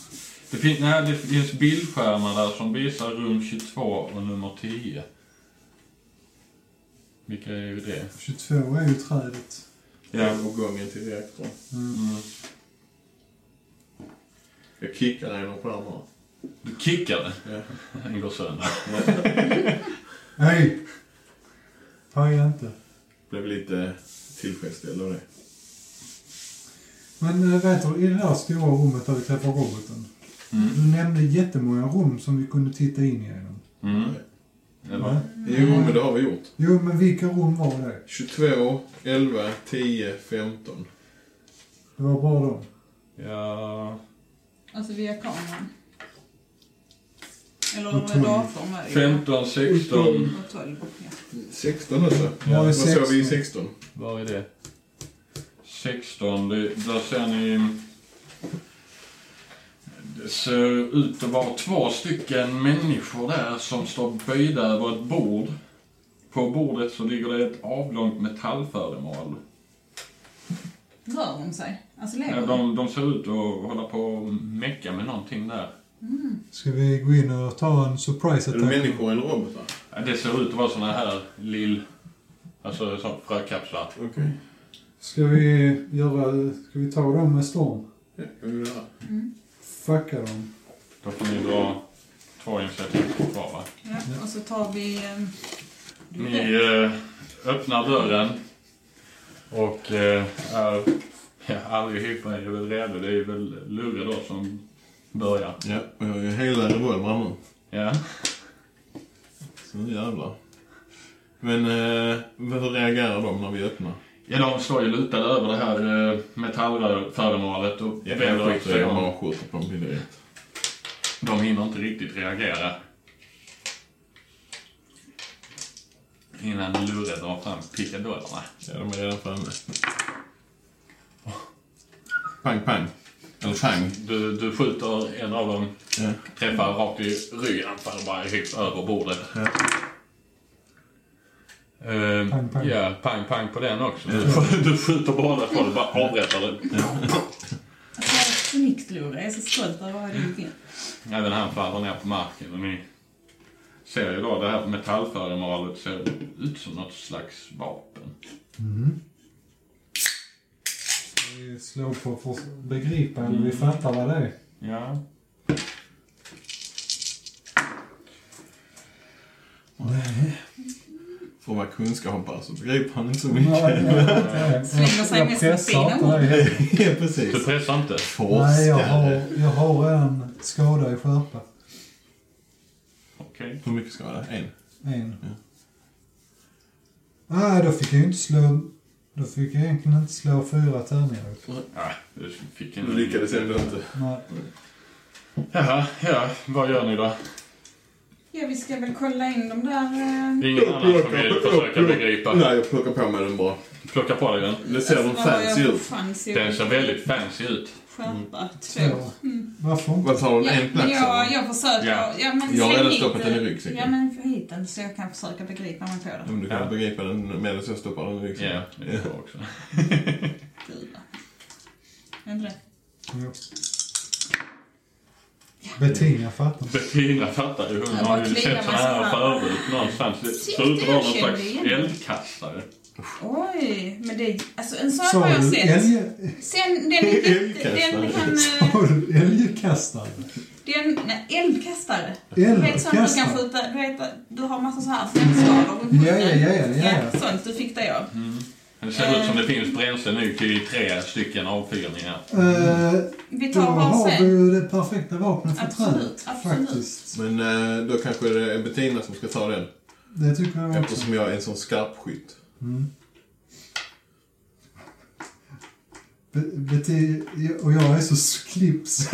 S2: Det, fin- nej, det finns bildskärmar där som visar rum 22 och nummer 10. Vilka är ju det?
S3: 22 är ju trädet.
S4: Övergången till reaktorn.
S2: Mm.
S4: Jag kickar dig någon skärm här.
S2: Du kickade.
S4: Ja.
S2: Den går sönder.
S3: Nej! Paja inte.
S4: Blev lite tillfredsställd av det.
S3: Men eh, vet du, i det där stora rummet där vi träffar roboten.
S2: Mm.
S3: Du nämnde jättemånga rum som vi kunde titta in genom.
S2: Mm. Eller?
S4: Jo, men det har vi gjort.
S3: Jo, men vilka rum var det?
S4: 22, 11, 10, 15.
S3: Det var bara dem.
S2: Ja...
S1: Alltså via kameran. Eller
S3: Och tolv.
S1: datorn var det ju.
S2: 15, 16.
S1: Och 12, ja.
S4: 16 alltså.
S3: Ja,
S4: Vad
S3: 16.
S4: sa vi i 16?
S2: Var är det? 16, det, där ser ni... Det ser ut att vara två stycken människor där som står böjda över ett bord. På bordet så ligger det ett avlångt metallföremål.
S1: Rör de sig? Alltså lever de?
S2: Eh, De, de ser ut att hålla på och mecka med någonting där.
S3: Ska vi gå in och ta en surprise
S4: Är det
S3: attack?
S4: människor eller robotar?
S2: Eh, Det ser ut att vara såna här lill... Alltså sån frökapslar.
S4: Okej.
S3: Ska vi göra... Ska vi ta dem med storm?
S4: Ja, kan vi göra.
S3: Fucka dem.
S2: Då får ni dra två initiativ kvar va?
S1: Ja. Och så tar vi... ehm,
S2: Ni
S1: Mm.
S2: eh, öppnar dörren och eh, är ja, aldrig hypna är väl redo. Det är väl Lurre då som börjar.
S4: Ja, och jag har ju hela revolvern nu.
S2: Ja.
S4: Så nu jävlar. Men eh, hur reagerar de när vi öppnar?
S2: ja, de står ju lutade över det här eh, metallföremålet och vänder
S4: jag skjuter,
S2: sig
S4: jag
S2: om.
S4: bara skjuter på dem direkt.
S2: De hinner inte riktigt reagera. Innan Lurre drar fram pickadollerna.
S4: Ja, de är redan framme. Pang, pang. Eller pang.
S2: Du, du skjuter en av dem,
S4: Ja.
S2: träffar rakt i ryggen, faller bara högt över bordet.
S4: Ja.
S2: Eh,
S3: Pang, pang.
S2: Ja, pang pang på den också. Du, du skjuter båda på den bara avrättar den.
S1: Alltså, snyggt Lore, jag är så stolt över vad du gjort.
S2: Även han faller ner på marken. Och ni ser ju då det här metallföremålet ser ut som något slags vapen.
S3: Vi slår på för att begripa eller vi fattar vad det är.
S2: Ja.
S4: För att vara kunskapare så begriper han inte så
S3: Ja,
S4: mycket.
S3: ja, ja.
S1: Slänger sig
S3: Jag
S1: mest
S3: pressar
S1: med benen.
S3: inte dig.
S4: Ja,
S2: Du
S4: precis.
S2: pressar inte?
S3: Nej, jag har,
S4: Forskare.
S3: jag har en skada i skärpa.
S2: Okej.
S4: Hur mycket skada? En?
S3: En. Nej, då fick jag ju inte slå... Då fick jag egentligen inte slå fyra tärningar.
S2: Ja, du fick en...
S4: Du lyckades ändå inte.
S3: Nej.
S2: Jaha, ja. Vad gör ni då?
S1: Ja, vi ska väl kolla in de där... eh,
S2: Det är ingen annan som vill försöka begripa.
S4: Nej, jag plockar på mig den bara.
S2: Plocka på dig den.
S4: Det ser de
S1: alltså, vad har jag
S4: fancy
S1: för
S4: ut.
S1: Fancy
S2: Den
S1: ut.
S2: ser väldigt fancy ut.
S1: Skärpa, två. Mm.
S3: Så. Varför inte?
S4: Vad tar
S1: Ja,
S4: hon? En
S1: men
S4: plats?
S1: jag,
S4: eller?
S1: jag försöker...
S2: Ja.
S1: Ja. men
S4: Jag har
S1: släng
S4: redan
S1: hit
S4: stoppat den i
S1: den.
S4: ryggsäcken.
S1: Ja, men hit den så jag kan försöka begripa mig på
S4: Ja,
S1: den.
S4: men du kan
S2: Ja.
S4: begripa den medan jag stoppar den liksom. i
S2: Ja,
S4: ryggsäcken.
S2: det är bra också.
S1: Fyra. Är inte det?
S3: Jo. Bettina fattar.
S2: Bettina fattar ju. Hon
S1: Jag
S2: har
S1: bara
S2: ju
S1: kliar
S2: sett såna
S1: mig så
S2: här
S1: här.
S2: förut någonstans. Det
S1: Shit,
S2: ser ut att vara någon
S1: jag kände
S2: slags
S1: igen.
S2: eldkastare.
S1: Oj, men det... Alltså en sån
S3: Sa
S1: har jag
S3: du
S1: sett.
S3: älg-
S1: Sen, den är jätte... Den kan... eh,
S3: sa du älgkastare?
S1: Den... Nej, eldkastare. Du vet sånt du kan
S3: Älgkastare?
S1: skjuta, du vet att du har massa så här flämskador
S3: Ja, ja, ja, ja, ja.
S1: Sånt, du fick det jag.
S2: Det ser ut som det finns bränsle nu till tre stycken avfyrningar.
S3: Eh,
S1: Vi
S3: Då
S1: tar
S3: har vi
S1: varsin.
S3: ju det perfekta vapnet för
S1: Absolut,
S3: träet.
S1: absolut.
S3: Faktiskt.
S4: Men eh, då kanske det är Bettina som ska ta den.
S3: Det tycker jag också.
S4: Eftersom jag är en sån skarpskytt.
S3: Be- Beti- och jag är så klips.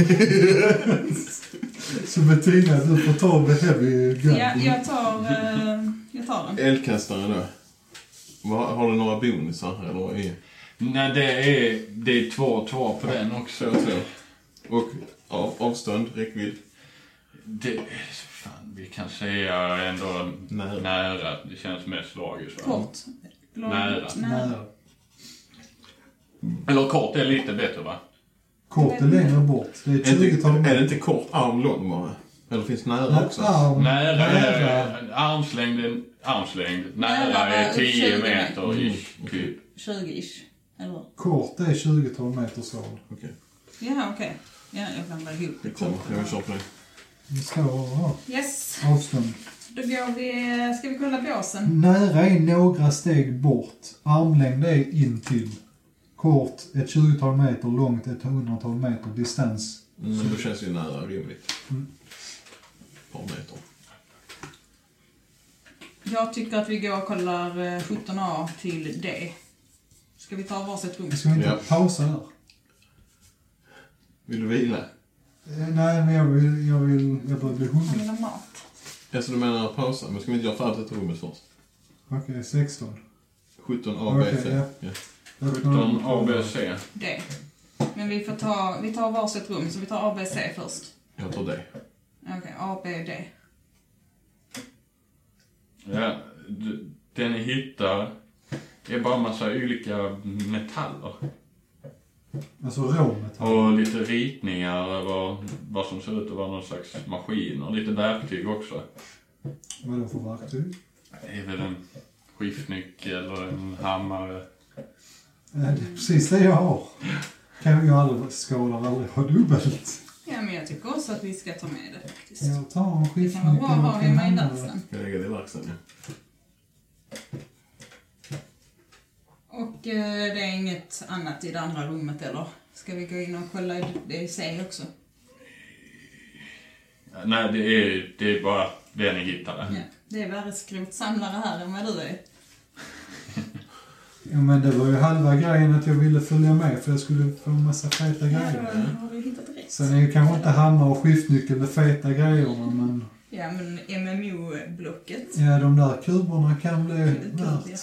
S3: så Bettina, du får ta the heavy gun.
S1: Ja, jag tar, eh, jag tar den.
S4: Eldkastaren då? Vad- Har du några bonusar? Eller är
S2: Nej, det är, det är två och två på den
S4: så
S2: också.
S4: och så? Och ja, avstånd, räckvidd.
S2: Det, fan, vi kan säga ändå
S4: Nära.
S2: nära. Det känns mest logiskt. va?
S1: Kort. Långt.
S2: Nära.
S3: Nej.
S2: Eller kort är lite bättre va?
S3: Kort är längre bort. Det är
S4: Är, det inte-
S3: 20-tal
S4: är det inte kort arm lång bara? Eller finns nära också?
S3: Arm,
S2: Nära
S3: nära.
S2: är armslängd, är- armslängd. Nära
S1: Nära
S2: är
S1: är
S2: 10
S1: 20
S2: meter ish. Typ.
S1: 20-ish. Eller?
S3: Kort är 20-tal meters håll.
S4: Okej,
S1: Ja, okej. Ja, jag blandar ihop det.
S4: skitsamma. Jag vill köra på det.
S3: Vi ska ha
S1: Yes,
S3: avstånd.
S1: då går vi... Ska vi kolla båsen?
S3: Nära är några steg bort. Armlängd är intill. Kort ett 20-tal meter, långt ett 100-tal meter. Distans.
S4: Men då känns det ju nära rimligt.
S3: Mm.
S4: Ett par meter.
S1: Jag tycker att vi går och kollar eh, 17A till D. Ska vi ta varsitt rum?
S3: Ska vi inte
S4: Ja.
S3: pausa där?
S4: Vill du vila?
S3: Eh, Nej, men jag vill... Jag, vill, jag börjar bli
S1: Han
S3: hungrig.
S1: vill ha mat.
S4: Alltså du menar pausa, men ska vi inte göra färdigt detta rummet först?
S3: Okej, 16.
S4: 17 A, B,
S3: Okej,
S4: C.
S3: ja.
S4: Ja.
S3: Öppnar
S2: Utan
S3: upp
S2: A, B och
S3: dörren.
S2: C.
S1: Det. Men vi får ta, vi tar varsitt rum, så vi tar A, B, C först.
S4: Jag tar det.
S1: Okej, A, B, D.
S2: Ja, d- den ni hittar är bara massa olika metaller.
S3: Alltså råmetall.
S2: Och lite ritningar över vad som ser ut att vara någon slags maskin och lite verktyg också.
S3: Vad är det för verktyg?
S2: Det är väl en skiftnyckel och en hammare.
S3: Eh, Det är precis det jag har. Kan jag aldrig, skålar aldrig ha dubbelt.
S1: Ja, men jag tycker också att vi ska ta med det faktiskt.
S3: Jag tar en
S1: Det kan vara bra
S3: skiftnyckel
S1: att ha
S3: och en
S1: hemma i
S3: hammare.
S1: verkstaden.
S4: Ska jag lägga det i verkstaden? Ja.
S1: Och eh, det är inget annat i det andra rummet eller? Ska vi gå in och kolla i det i C också?
S2: Ja, Nej, det är, det är bara det ni hittade.
S1: Ja. Det är värre skrotsamlare här än vad du är.
S3: Ja men det var ju halva grejen att jag ville följa med för jag skulle få en massa feta
S1: Ja,
S3: grejer.
S1: då har du hittat rätt.
S3: Sen är ju kanske inte hammare och skiftnyckel de feta grejerna men
S1: Ja, men MMO-blocket.
S3: ja, de där kuberna kan bli
S1: Kul, kul, ja.
S3: värt.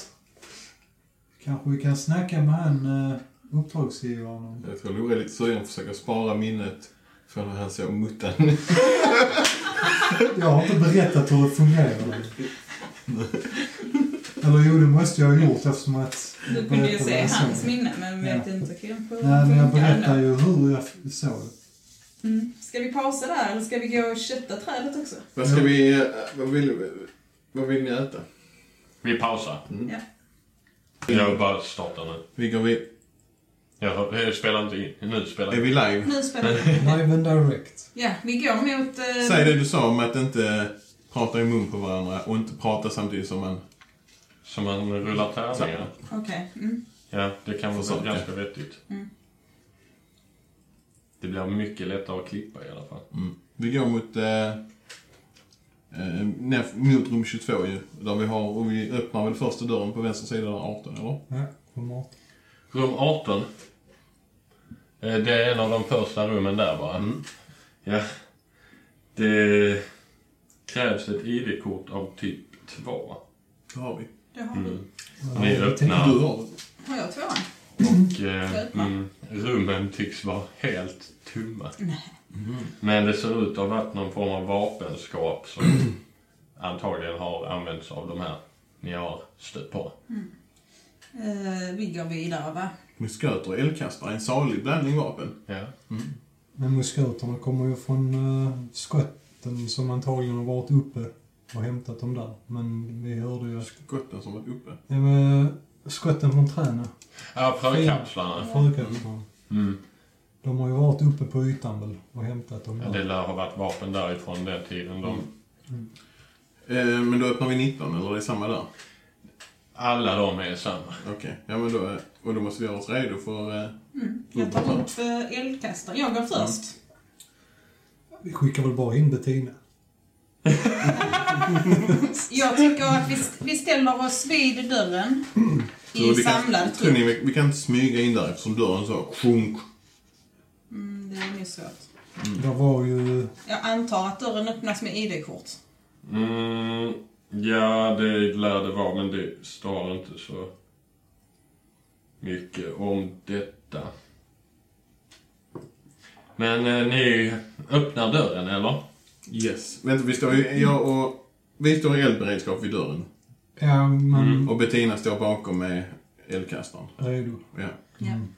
S3: Kanske vi kan snacka med han eh, uppdragsgivaren om.
S4: Jag tror Lore är lite sugen på att försöka spara minnet från när han såg muttan.
S3: Jag har inte berättat hur det fungerar. Eller jo, det måste jag ha gjort eftersom att... jag
S1: Du kunde ju
S3: berättade
S1: se
S3: vad jag
S1: hans
S3: såg.
S1: minne, men
S3: Ja.
S1: vet inte kanske hur
S3: Nej, men jag
S1: funkar ändå.
S3: berättar ju hur jag f- såg det.
S1: Mm. Ska vi pausa där, eller ska vi gå och kötta trädet också?
S4: Vad ska vi... eh, Vad vill, vad vill ni äta?
S2: Vi pausar.
S1: Ja.
S2: Jag bara startar nu.
S4: Vi går vi...
S2: Jag, hör- jag spelar inte in. Nu spelar
S4: Är
S2: jag.
S4: vi
S3: Mm.
S4: live?
S1: Nu spelar vi.
S3: Live and direct.
S1: Ja, vi går mot... Eh,
S4: Säg det du sa om att inte prata i mun på varandra och inte prata samtidigt som man...
S2: Som man rullar tärningar.
S1: Okej. Mm.
S2: Ja, det kan vara
S4: Försöka.
S2: ganska vettigt.
S1: Mm.
S2: Det blir mycket lättare att klippa i alla fall.
S4: Mm. Vi går mot... Eh, eh, ner, mot rum 22 ju. Där vi har... Och vi öppnar väl första dörren på vänster sida, där 18 eller?
S3: Ja, på mat.
S2: Rum 18. Eh, Det är en av de första rummen där bara. Ja. Det krävs ett ID-kort av typ 2.
S4: Det har vi.
S1: Det har vi.
S2: Mm. Ni öppnar
S4: Du har det.
S1: Har jag tvåan?
S2: och eh, mm, rummen tycks vara helt tomma.
S1: Nej.
S2: Men det ser ut att ha varit någon form av vapenskap som antagligen har använts av de här ni har stött på.
S1: Eh, vi går vidare va?
S4: Musköter och eldkastare, en salig blandning vapen.
S2: Ja.
S4: Mm.
S3: Men musköterna kommer ju från eh, skotten som antagligen har varit uppe och hämtat dem där. Men vi hörde ju...
S4: Skotten som varit uppe.
S3: Ja, men, skotten från träna.
S2: Ja, frökapslarna.
S3: Frökapslarna.
S2: Mm.
S3: De har ju varit uppe på ytan väl och hämtat dem
S2: Ja, Det
S3: där.
S2: lär ha varit vapen därifrån den tiden. De,
S4: Eh, men då öppnar vi 19, eller det är samma där?
S2: alla de är samma.
S4: Okej, ja men då... eh, Och då måste vi göra oss redo för... Eh,
S1: Mm. Jag tar upp eh, eldkastaren. Jag går
S2: Mm.
S1: först.
S3: Vi skickar väl bara in Bettina.
S1: Jag tycker att vi, vi ställer oss vid dörren i
S4: vi kan,
S1: samlad typ.
S4: tror ni
S1: trupp.
S4: vi, vi kan inte smyga in där eftersom dörren så sjunk.
S1: Mm, det är nog svårt.
S2: Mm.
S3: Det var ju...
S1: Jag antar att dörren öppnas med ID-kort.
S2: Mm, ja, det lär det vara, men det står inte så mycket om detta. Men eh, ni öppnar dörren, eller?
S4: Yes. Vänta, vi står ju... Jag och... Vi står i eldberedskap vid dörren.
S3: Ja, men...
S2: Mm.
S4: Och Bettina står bakom med eldkastaren.
S3: Redo.
S4: Ja.
S2: Mm.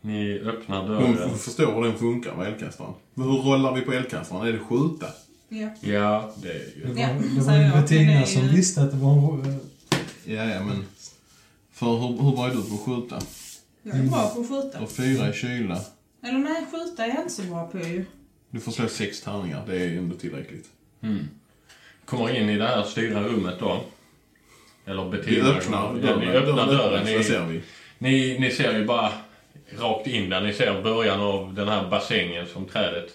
S2: Ni öppnar
S4: Hon
S2: dörren.
S4: f- förstår hur den funkar med eldkastaren. Men hur rollar vi på eldkastaren? Är det skjuta?
S1: Ja.
S2: Ja, det är
S3: Det
S2: ju...
S3: var,
S1: Ja,
S3: det var
S1: säger
S3: ju
S1: jag. Det är
S3: Bettina
S1: ju-
S3: som visste att det var en... eh,
S4: Ja, ja men... För hur, hur bra är du på att skjuta?
S1: Jag är bra på att skjuta.
S4: Och fyra i kyla.
S1: Eller nej, skjuta är jag inte så bra på ju.
S4: Du får slå sex tärningar, det är ändå tillräckligt.
S2: Kommer in i det här styra rummet då. Eller
S4: Vi
S2: Bettina.
S4: öppnar
S2: ja,
S4: dörren.
S2: ni öppnar dörren.
S4: så
S2: Ni,
S4: ser vi.
S2: ni, ni ser ju bara rakt in där. Ni ser början av den här bassängen som trädet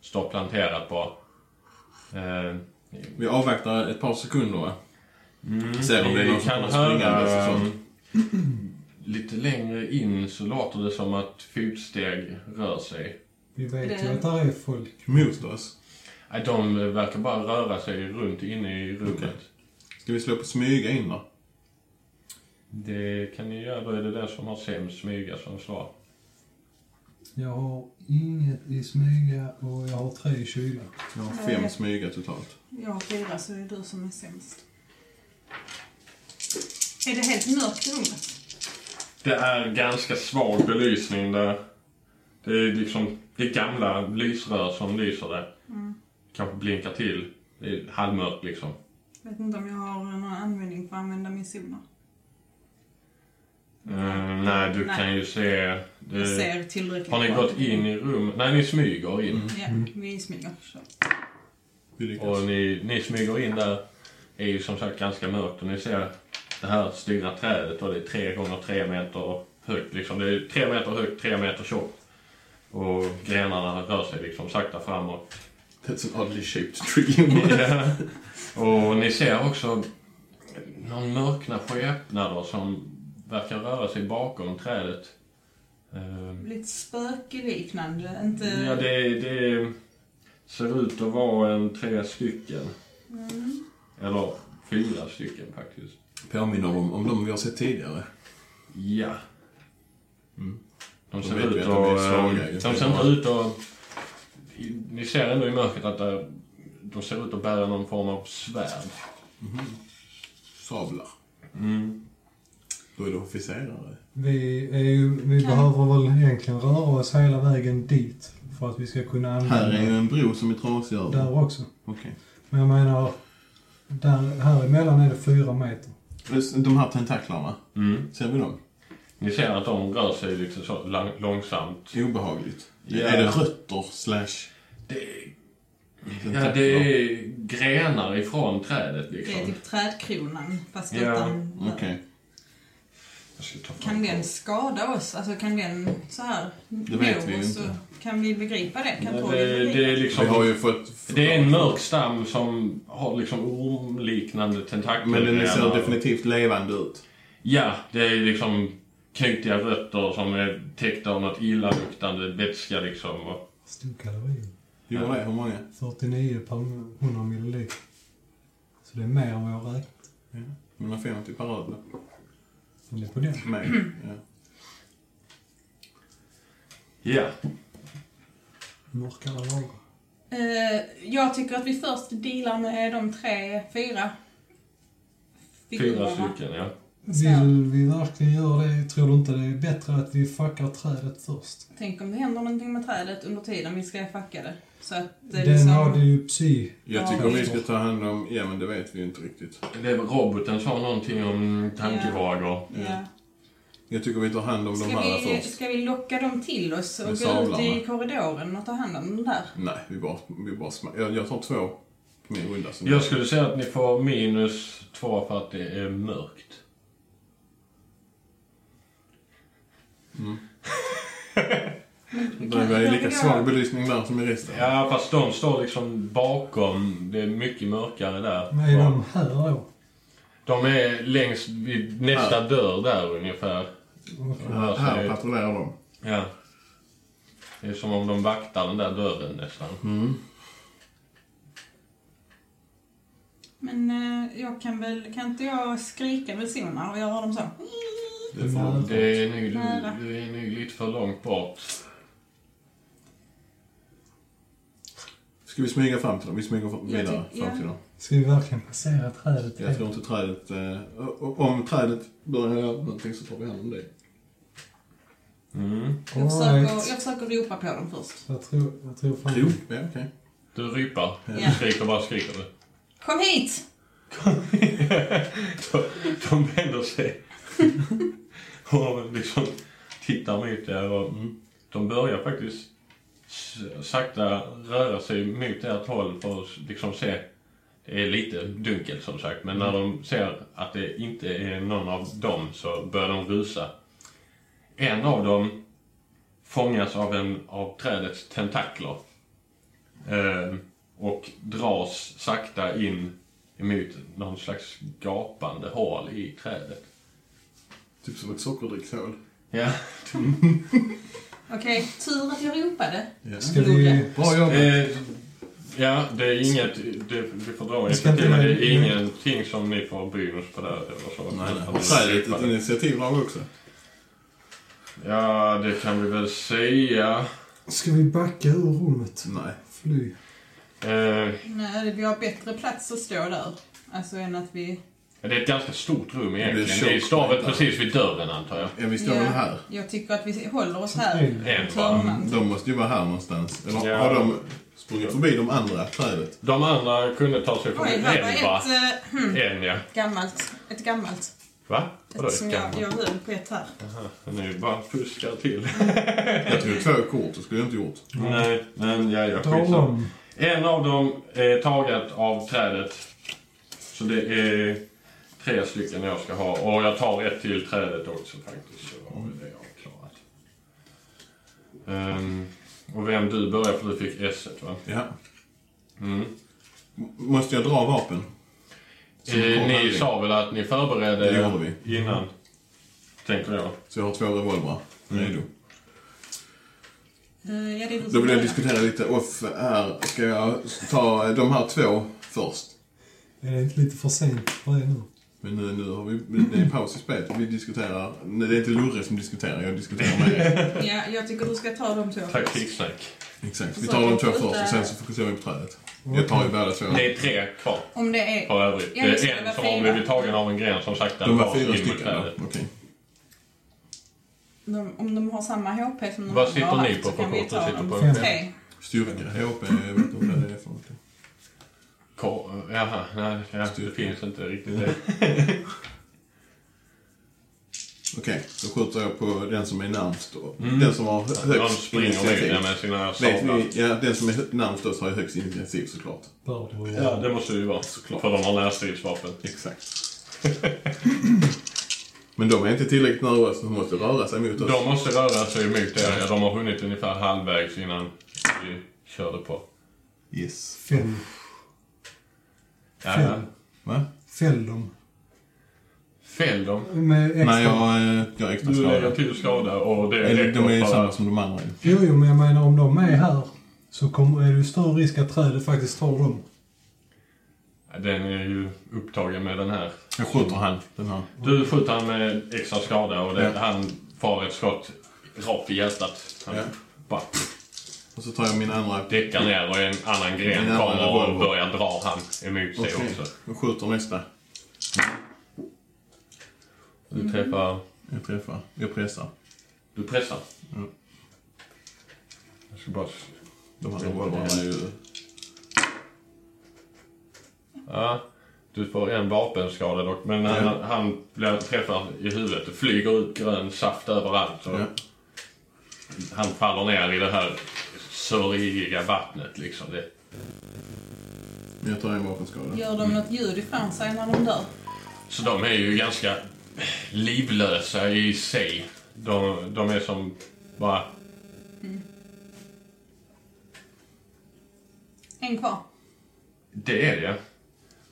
S2: står planterat på. Eh,
S4: Vi avvaktar ett par sekunder va?
S2: Mm.
S4: Ser om det är
S2: Vi
S4: någon som
S2: kan
S4: kommer springandes och
S2: höra,
S4: sånt.
S2: Lite längre in så låter det som att fotsteg rör sig.
S3: Vi vet ju
S1: Det-
S3: att där är folk.
S4: Mot oss.
S2: Nej, De eh, verkar bara röra sig runt inne i rummet.
S4: Okej. Ska vi slå på smyga in då?
S2: Det kan ni göra. Då är det den som har sämst smyga som slår.
S3: Jag har inget i smyga och jag har tre i kyla.
S4: Jag har
S1: Nej.
S4: fem smyga totalt.
S1: Jag har fyra så det är du som är sämst. Är det helt mörkt i rummet?
S2: Det är ganska svag belysning där. Det är liksom det är gamla lysrör som lyser där.
S1: Mm.
S2: Kanske blinkar till. Det är halvmörkt liksom.
S1: Vet inte om jag har någon användning för att använda min sonar.
S2: Eh, nej, du
S1: Nej.
S2: kan ju se...
S1: Jag
S2: Det,
S1: ser tillräckligt
S2: Eh, har ni
S1: bra.
S2: gått in i rummet? Nej, ni smyger in.
S1: Ja, vi smyger. Så.
S4: Vi lyckas.
S2: Och ni, ni smyger in där. är ju som sagt ganska mörkt och ni ser det här stora trädet och det är tre gånger tre meter högt liksom. Det är tre meter högt, tre meter tjockt. Och grenarna rör sig liksom sakta framåt.
S4: That's an oddly shaped tree.
S2: Ja. Och ni ser också någon mörkna skepnader som verkar röra sig bakom trädet. Ehm,
S1: Lite spökeliknande, inte...
S2: Ja, det, det ser ut att vara en tre stycken.
S4: Mm.
S2: Eller fyra stycken faktiskt.
S4: Påminner om, om de vi har sett tidigare.
S2: Ja. Mm. De
S4: Då
S2: ser
S4: vet vi
S2: ut
S4: att de är
S2: att...
S4: svaga.
S2: ehm, De ser inte ut att... Ni ser ändå i mörkret att eh, de ser ut att bära någon form av svärd.
S4: Sablar.
S2: Mm.
S4: Då är det officerare.
S3: Vi, är ju, vi
S1: Kan-
S3: behöver väl egentligen röra oss hela vägen dit för att vi ska kunna använda
S4: Här är ju en bro som är trasig över.
S3: där också.
S4: Okej.
S3: Men jag menar, där, här emellan är det fyra meter.
S4: De här tentaklarna,
S2: Mm.
S4: ser vi dem?
S2: Ni ser att de rör sig liksom så lang- långsamt.
S4: Obehagligt.
S2: Ja.
S4: Är det rötter slash
S2: Det, ja,
S4: tentakler?
S2: det är grenar ifrån trädet
S1: Det är
S2: liksom.
S1: typ trädkronan, fast
S2: Ja,
S1: utan...
S4: Okej.
S2: Jag ska ta fram
S1: Kan den
S2: den.
S1: skada oss? Alltså kan den så här nå
S4: vet vi ju
S1: oss?
S4: inte.
S1: och- Kan vi begripa det? Kan
S2: Nej,
S1: Torgny
S2: Det,
S1: begripa
S2: det, är
S4: Vi har
S2: liksom,
S4: ju fått...
S2: det är en mörk stam som har liksom ormliknande tentakler.
S4: Men den ser definitivt levande ut.
S2: Ja, det är liksom knutiga rötter som är täckta av något illaluktande vätska liksom. Och,
S3: Stor kalori.
S4: Gjorde det? Hur många?
S3: 49 per 100 milliliter. Så det är mer än vad jag räknat.
S4: 150 typ per öl.
S3: Men det är på den.
S4: Mer. Ja.
S2: ja,
S3: Mörkare lager.
S1: Eh, jag tycker att vi först dealar med de tre, fyra
S2: fyra
S1: figurerna.
S2: stycken ja.
S1: Sen,
S3: Vill vi verkligen göra det? Tror du inte det är bättre att vi fuckar trädet först?
S1: tänk om det händer någonting med trädet under tiden vi ska fucka det. Så att det är
S3: Den hade
S1: liksom...
S3: ju psy.
S4: Jag tycker vi ska ta hand om... Ja, men det vet vi ju inte riktigt.
S2: Det är väl roboten sa någonting om tankevågor.
S1: Ja.
S4: Jag tycker vi tar hand om de
S1: Ska,
S4: här
S1: vi,
S4: först.
S1: ska vi locka dem till oss och
S4: Med
S1: gå ut i
S4: sablarna.
S1: korridoren och ta hand om dem där?
S4: Nej, vi bara... Vi bara sma- jag, jag tar två på min runda. Som
S2: Jag skulle säga att ni får minus två för att det är mörkt.
S4: det är lika svag belysning där som i resten.
S2: Ja, fast de står liksom bakom. Det är mycket mörkare där.
S3: Men är de här då?
S2: De är längst vid nästa dörr där ungefär.
S3: Okej.
S2: Hörs
S4: Här
S2: det.
S4: patrullerar de.
S2: Ja. Det är som om de vaktar den där dörren nästan.
S1: Men eh, jag kan väl, kan inte jag skrika med sonar och göra dem så?
S4: Det får de.
S2: Det är nog,
S1: Nära.
S2: det är nog lite för långt bort.
S4: Ska vi smyga fram till dem? Vi smyger fram-
S1: Jag
S4: vidare
S1: tycker-
S4: fram till
S1: ja.
S4: dem.
S3: Ska vi verkligen passera trädet?
S4: Jag tror inte trädet... Eh, o- o- om trädet börjar göra någonting så tar vi hand om det.
S2: Mm.
S1: Jag
S3: All
S1: försöker,
S3: right.
S1: jag försöker ropa på dem först.
S3: Jag tror, jag tror fan...
S4: Jo, ja, okej.
S2: Du rypar.
S1: Ja.
S2: Du skriker bara skriker du.
S1: Kom hit!
S2: de, de vänder sig och liksom tittar mot er och mm, de börjar faktiskt s- sakta röra sig mot ert håll för att s- liksom se. Det är lite dunkelt som sagt men när de ser att det inte är någon av dem så börjar de rusa. En av dem fångas av en av trädets tentakler eh, och dras sakta in emot någon slags gapande hål i trädet.
S4: Typ som ett sockerdrickshål.
S2: Ja.
S1: Okej, tur att jag ropade.
S4: Ja.
S3: Ska vi...
S4: Bra jobbat.
S2: Eh, ja, det är inget... Det, vi får dra
S3: Vi ska inte-
S2: initiativ, men det är ingenting som ni får bonus på där eller så.
S4: Nej,
S2: Utan
S4: nej.
S2: ni
S4: Och säg ett
S2: slipar
S4: ett
S2: det.
S4: initiativdrag också.
S2: Ja, det kan vi väl säga.
S3: Ska vi backa ur rummet?
S4: Nej.
S3: Fly.
S2: Eh,
S1: Nej, vi har bättre plats att stå där. Alltså än att vi...
S2: det är ett ganska stort rum egentligen.
S4: blir
S2: Det är stavet
S4: tjockare.
S2: precis vid dörren antar jag.
S4: Ja, vi står
S1: Ja. Mm.
S4: väl här. Mm,
S1: Jag tycker att vi håller oss här.
S3: Här.
S2: En bara.
S1: Törnan.
S4: De måste ju vara här någonstans. Eller
S2: Ja.
S4: har de sprungit förbi de andra trädet?
S2: De andra kunde ta sig förbi.
S1: Oj,
S2: En
S1: här var
S2: va?
S1: ett eh, hmm,
S2: En ja.
S1: gammalt. Ett gammalt.
S2: Va? Vadå
S1: Ett som
S2: ett
S1: jag,
S2: gammalt?
S1: jag höll på ett här.
S2: Aha, Nu bara fuskar till.
S4: Jag tog två kort, det skulle jag inte gjort.
S2: Nej, men jag, jag
S3: Dra
S2: skitsam.
S3: om.
S2: En av dem är taget av trädet. Så det är tre stycken jag ska ha. Och jag tar ett till trädet också faktiskt. Så har vi det avklarat. Ehm, och vem du börjar för du fick s va?
S4: Ja.
S2: Mm.
S4: M- Måste jag dra vapen? Som
S2: Eh, ni
S4: handling.
S2: sa väl att ni förberedde
S4: Det gjorde vi.
S2: innan? Tänker jag.
S4: Så jag har två revolvrar redo.
S1: Eh, ja, det är du som
S4: Då vill jag
S1: börjar.
S4: diskutera lite off här. Ska jag ta de här två först?
S3: Är det inte lite för sent för det nu?
S4: Men nu, nu har vi det är paus i spelet. Vi diskuterar... Nej, det är inte Lurre som diskuterar, jag diskuterar med er.
S1: Ja, jag tycker du ska ta de två.
S2: Taktiksnack.
S4: Exakt. Vi tar de två först och sen så fokuserar vi på trädet. Jag tar ju båda två.
S2: Det är tre kvar
S1: Om det är...
S2: för övrigt. Det
S1: Ja, just det,
S2: är
S1: det var
S2: en som har
S1: fyra.
S2: blivit tagen av en gren som sakta
S4: De var
S2: dras in
S4: fyra
S2: mot
S4: stycken, ja.
S2: trädet.
S4: Okej.
S1: De, om de har samma HP som de
S2: Vad
S1: andra
S2: sitter
S1: har
S2: ni
S1: haft
S2: på
S1: så
S2: för
S1: kan vi
S2: kort? Du
S1: ta
S2: sitter
S1: dem.
S2: på
S3: Fem.
S1: Tre.
S4: Styrka, HP, jag vet inte vad det är för någonting.
S2: Ko- Jaha, nej, ja, det finns inte riktigt det.
S4: Okej, då skjuter jag på den som är närmst då. Den som har hö-
S2: Mm. De
S4: högst
S2: springer och
S4: initiativ.
S2: vinner med sina
S4: Vet
S2: sablar.
S4: ni, ja, den som är hö- närmst oss har ju högst initiativ såklart.
S3: Bör det vara.
S2: Ja, det måste det ju vara. För de har närstridsvapen.
S4: Exakt. Men de är inte tillräckligt nära oss, de måste röra sig mot oss.
S2: De måste röra sig emot er. Ja, De har hunnit ungefär halvvägs innan vi körde på.
S4: Yes.
S3: Fäll.
S2: Ja, ja.
S3: Fäll.
S4: Va?
S3: Fäll dem.
S2: Fäll dem.
S3: Med extra...
S4: Nej, jag eh, gör extra
S2: Du lägger
S4: skada.
S2: till skada och det
S4: Eller de är ju
S2: räcker för
S4: samma
S2: att...
S4: som de andra ju.
S3: Jo, jo, men jag menar om de är här så kommer, är det ju större risk att trädet faktiskt tar dem.
S2: Den är ju upptagen med den här.
S4: Jag skjuter han, den här.
S2: Du skjuter han med extra skada och det,
S4: Ja.
S2: han far ett skott rakt i hjärtat. Han
S4: Ja.
S2: bara
S4: Och så tar jag min andra.
S2: däckar ner och en annan gren
S4: En annan
S2: kommer och
S4: revolver.
S2: börjar dra han emot sig
S4: Okej,
S2: också.
S4: jag skjuter nästa.
S2: Du träffar...
S4: Jag träffar. Jag pressar.
S2: Du pressar.
S4: Mm.
S2: Jag ska bara...
S4: De här revolverna är ju...
S2: Ja, du får en vapenskada dock, men han,
S4: Ja.
S2: han blir träffad i huvudet. Det flyger ut grön saft överallt. Och
S4: Ja.
S2: Han faller ner i det här sörjiga vattnet liksom. Det,
S4: Jag tar en vapenskada.
S1: Gör de något ljud ifrån sig när de dör?
S2: så de är ju ganska livlösa i sig. De, de är som bara...
S1: En kvar.
S2: Det är det.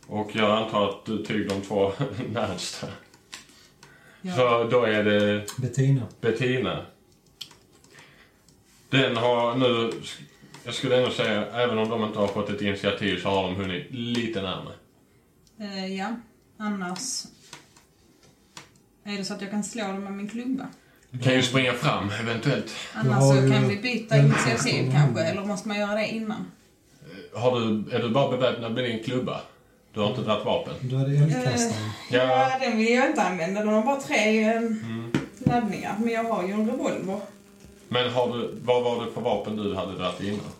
S2: Och jag antar att du tog de två närmsta.
S1: Ja.
S2: Så då är det...
S3: Bettina.
S2: Bettina. Den har nu, jag skulle ändå säga, även om de inte har fått ett initiativ så har de hunnit lite närmare.
S1: Eh, ja, annars... Är det så att jag kan slå dem med min klubba?
S2: Kan
S1: Mm.
S2: ju springa fram eventuellt.
S1: Annars
S3: har
S1: så
S3: ju-
S1: kan vi byta
S3: Mm.
S1: initiativ kanske, eller måste man göra det innan?
S2: Har du, är du bara beväpnad med din klubba? Du har inte dragit vapen?
S3: Du hade eldkastaren.
S2: Ja. Ja,
S1: den vill jag inte använda. Den har bara tre eh, laddningar. Men jag har ju en revolver.
S2: Men har du, vad var det för vapen du hade dragit innan?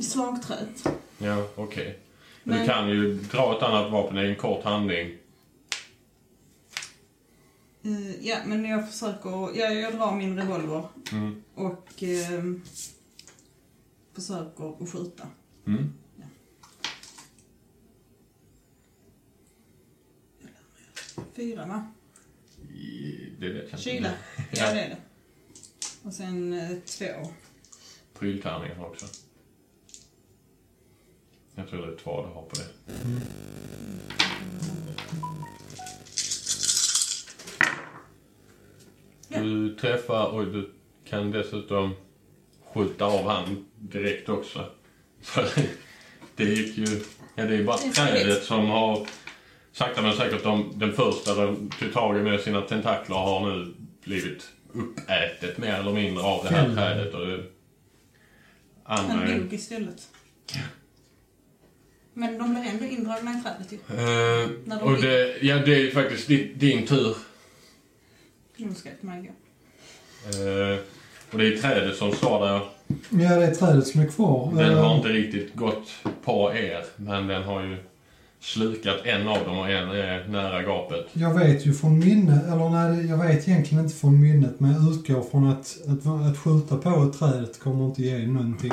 S1: Slagträet.
S2: Ja, okej. Du
S1: Men-
S2: kan ju dra ett annat vapen i en kort handling.
S1: Eh, ja, men jag försöker... Ja, jag drar min revolver
S2: Mm.
S1: och eh, försöker att skjuta.
S2: Mm.
S1: Fyra, va?
S2: I- Det vet jag inte.
S1: Kyla. Ja, det är det. Och sen eh, två.
S2: Pryltärningar också. Jag tror det är två du har på det. Du träffar... Oj, du kan dessutom skjuta av han direkt också. För det gick ju... Ja, det är bara
S1: Det är
S2: trädet
S1: farligt.
S2: som har... Sakta men säkert, de, den första de tog tag i med sina tentakler har nu blivit uppätet mer eller mindre av det här
S3: Fällda.
S2: trädet. Och det, andra
S1: Han
S2: är-
S1: dog istället. Men de blev ändå indragna i trädet ju.
S2: Eh,
S1: När de
S2: och
S1: fick-
S2: det, ja, det är ju faktiskt din, din tur.
S1: Nu ska inte man gå.
S2: Eh, och det är trädet som står där.
S3: Ja, det är trädet som är kvar.
S2: Den
S3: Eh,
S2: har inte riktigt gått på er, men den har ju slukat en av dem och en är nära gapet.
S3: Jag vet ju från minne, eller nej, jag vet egentligen inte från minnet, men jag utgår från att, att, att skjuta på ett trädet kommer inte ge någonting.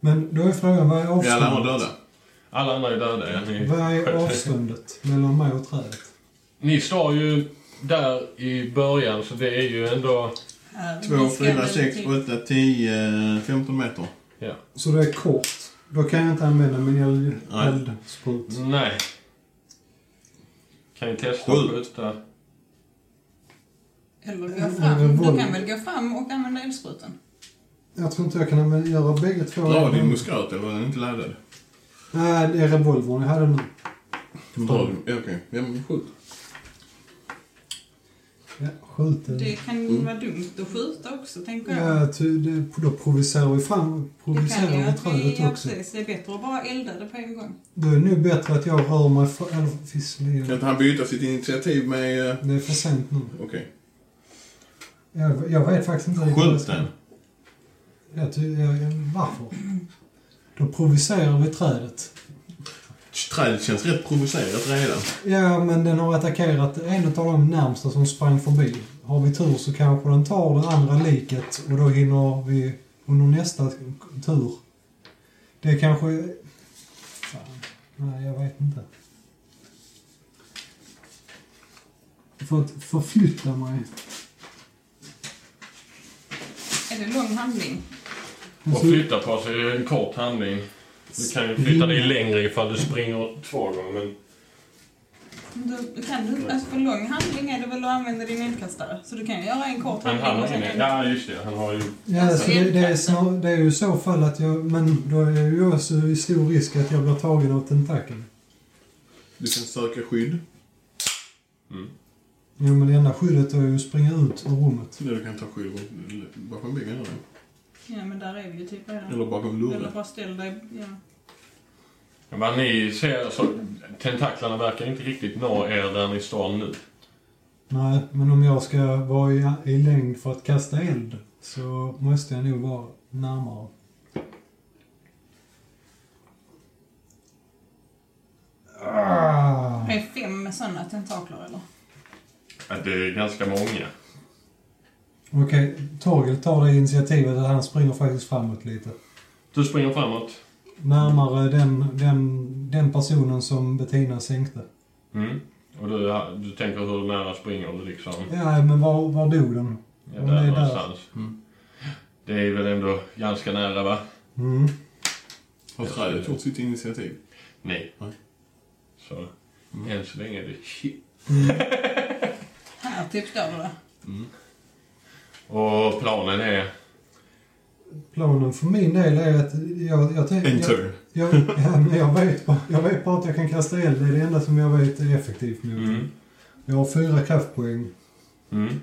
S3: Men då är frågan, vad är
S4: Vi alla andra
S3: avståndet?
S4: döda.
S2: Alla andra är döda. Ja. Ni,
S3: Vad är avståndet mellan mig och trädet?
S2: ni står ju där i början, så det är ju ändå...
S1: Här,
S4: 2,
S1: vi ska
S4: 4,
S1: väl
S4: 6,
S1: till-
S4: 8, 10, 15 meter.
S2: Ja.
S3: Så det är kort. Då kan jag inte använda min eld-
S4: Nej.
S3: eldsprut.
S2: Nej. Kan ni testa att
S4: Sjukt.
S2: skjuta?
S1: Eller
S3: En
S1: gå fram. Du
S3: revolver.
S1: kan väl gå fram och använda eldsprutan?
S3: Jag tror inte jag kan använda, göra bägge två.
S4: Dra din musköt eller är den inte laddad?
S3: Nej, det är revolvern jag hade nu.
S4: Dra den. Ja, Okej, ja men skjut.
S3: Ja, skjut den. Mm.
S1: Det kan ju vara dumt att skjuta också, tänker jag.
S3: Ja, ty, det, då provocerar vi fram,
S1: Det
S3: provocerar
S1: kan ju
S3: vi
S1: att vi,
S3: trädet
S1: ja,
S3: också.
S1: precis, det är bättre att bara elda det på en gång.
S3: Då är det nog bättre att jag rör mig för, eller
S4: Kan
S3: visserligen.
S4: inte han byta sitt initiativ med... eh,
S3: Det är för sent nu.
S4: Okej.
S3: Jag, jag vet faktiskt inte riktigt vad jag
S4: Skjut
S3: ska-
S4: den.
S3: Jag, ty, jag, jag, varför? Då provocerar vi trädet.
S4: Trädet känns rätt provocerat redan.
S3: Ja, men den har attackerat en av de närmsta som sprang förbi. Har vi tur så kanske den tar det andra liket och då hinner vi under nästa tur. Det är kanske... Fan. Nej, jag vet inte. För att förflytta mig.
S1: Är det lång handling?
S2: Och flytta på sig är en kort handling. Du kan ju flytta dig längre ifall du springer två gånger, men...
S1: Du, kan du, alltså för lång handling är det väl att använda din eldkastare? Så du kan ju göra en kort
S2: Men
S1: handling
S2: han
S1: och
S2: har
S1: sen
S2: ingen...
S1: en...
S2: Ja, just det. Han har ju...
S3: Ja, så det, det, är snar, det är ju i så fall att jag... Men då är ju jag så i stor risk att jag blir tagen av tentakeln.
S4: Du kan söka skydd.
S3: Jo, men det enda skyddet är ju att springa ut ur rummet.
S4: Eller du kan ta skydd bakom väggen eller?
S1: Ja, men där är vi ju typ redan.
S4: Eller bakom
S1: Eller
S4: luren.
S1: bara ställ dig... Ja.
S2: Ja, Men ni ser så... Tentaklarna verkar inte riktigt nå er där ni står nu.
S3: Nej, men om jag ska vara i, i längd för att kasta eld så måste jag nog vara närmare. Ah!
S1: Det är fem sådana tentakler, eller?
S2: Ja, det är ganska många.
S3: Okej, Torgil tar det initiativet att han springer faktiskt framåt lite.
S2: Du springer framåt.
S3: Närmare den, den, den personen som Bettina sänkte.
S2: Mm. Och du, du tänker hur nära springer du liksom?
S3: Ja, men var, var dog den?
S2: Ja,
S3: Om det är
S2: där
S3: där.
S2: någonstans.
S4: Mm.
S2: Det är väl ändå ganska nära, va?
S3: Mm.
S4: Har trädet gjort sitt initiativ?
S2: Nej.
S4: Nej.
S2: Så, än så länge är det shit.
S1: Här typ står det.
S2: Och planen är...
S3: Planen för min del är att jag... jag, tänker-
S4: En turn.
S3: Jag, ja, men jag, vet bara, jag vet bara att jag kan kasta eld. Det är det enda som jag vet är effektivt mot.
S2: Mm.
S3: Jag har fyra kraftpoäng.
S2: Mm.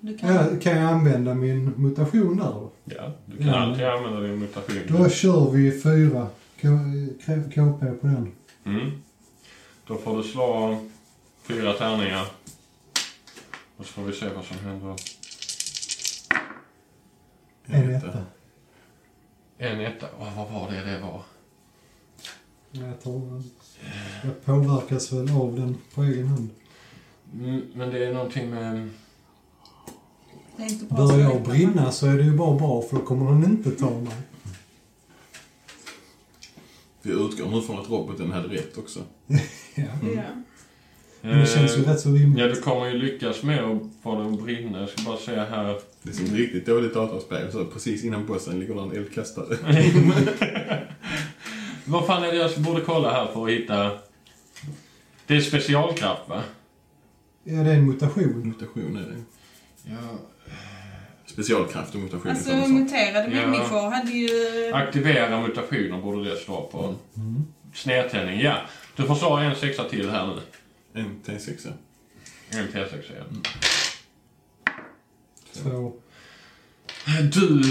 S1: Du kan...
S3: Ja, kan jag använda min mutation där då?
S2: Ja, du kan
S3: Ja.
S2: alltid använda din mutation.
S3: Då kör vi fyra K- K- KP på den.
S2: Mm. Då får du slå fyra tärningar. Och så får vi se vad som händer.
S3: En etta.
S2: En etta. Åh, vad var det det var?
S3: Jag, tar, jag påverkas väl av den på egen hand.
S2: Mm, men det är någonting med...
S1: Det är inte bra
S3: Börjar jag
S1: släkt, men-
S3: brinna så är det ju bara bra för då kommer den inte ta mig.
S4: Vi utgår nu från att roboten hade rätt också.
S3: Ja.
S1: Ja.
S3: Men det känns ju
S2: Eh,
S3: rätt så rimligt.
S2: Ja, du kommer ju lyckas med att få det att brinna. Jag ska bara se här.
S4: Det är som ett riktigt dåligt dataspel. Så precis innan bossen ligger där en eldkastare.
S2: Vad fan är det jag borde kolla här för att hitta... Det är specialkraft, va?
S3: Ja, det är en mutation.
S4: Mutation är det.
S2: Ja.
S4: specialkraft och mutation.
S1: Alltså
S4: och sånt.
S1: muterade
S2: Ja.
S1: människor hade ju...
S2: Aktivera mutationer borde det stå på. Snedtändning, ja. Du får slå en sexa till här nu.
S4: En T6, ja.
S2: En T6 igen.
S3: Två.
S2: Äh, Du...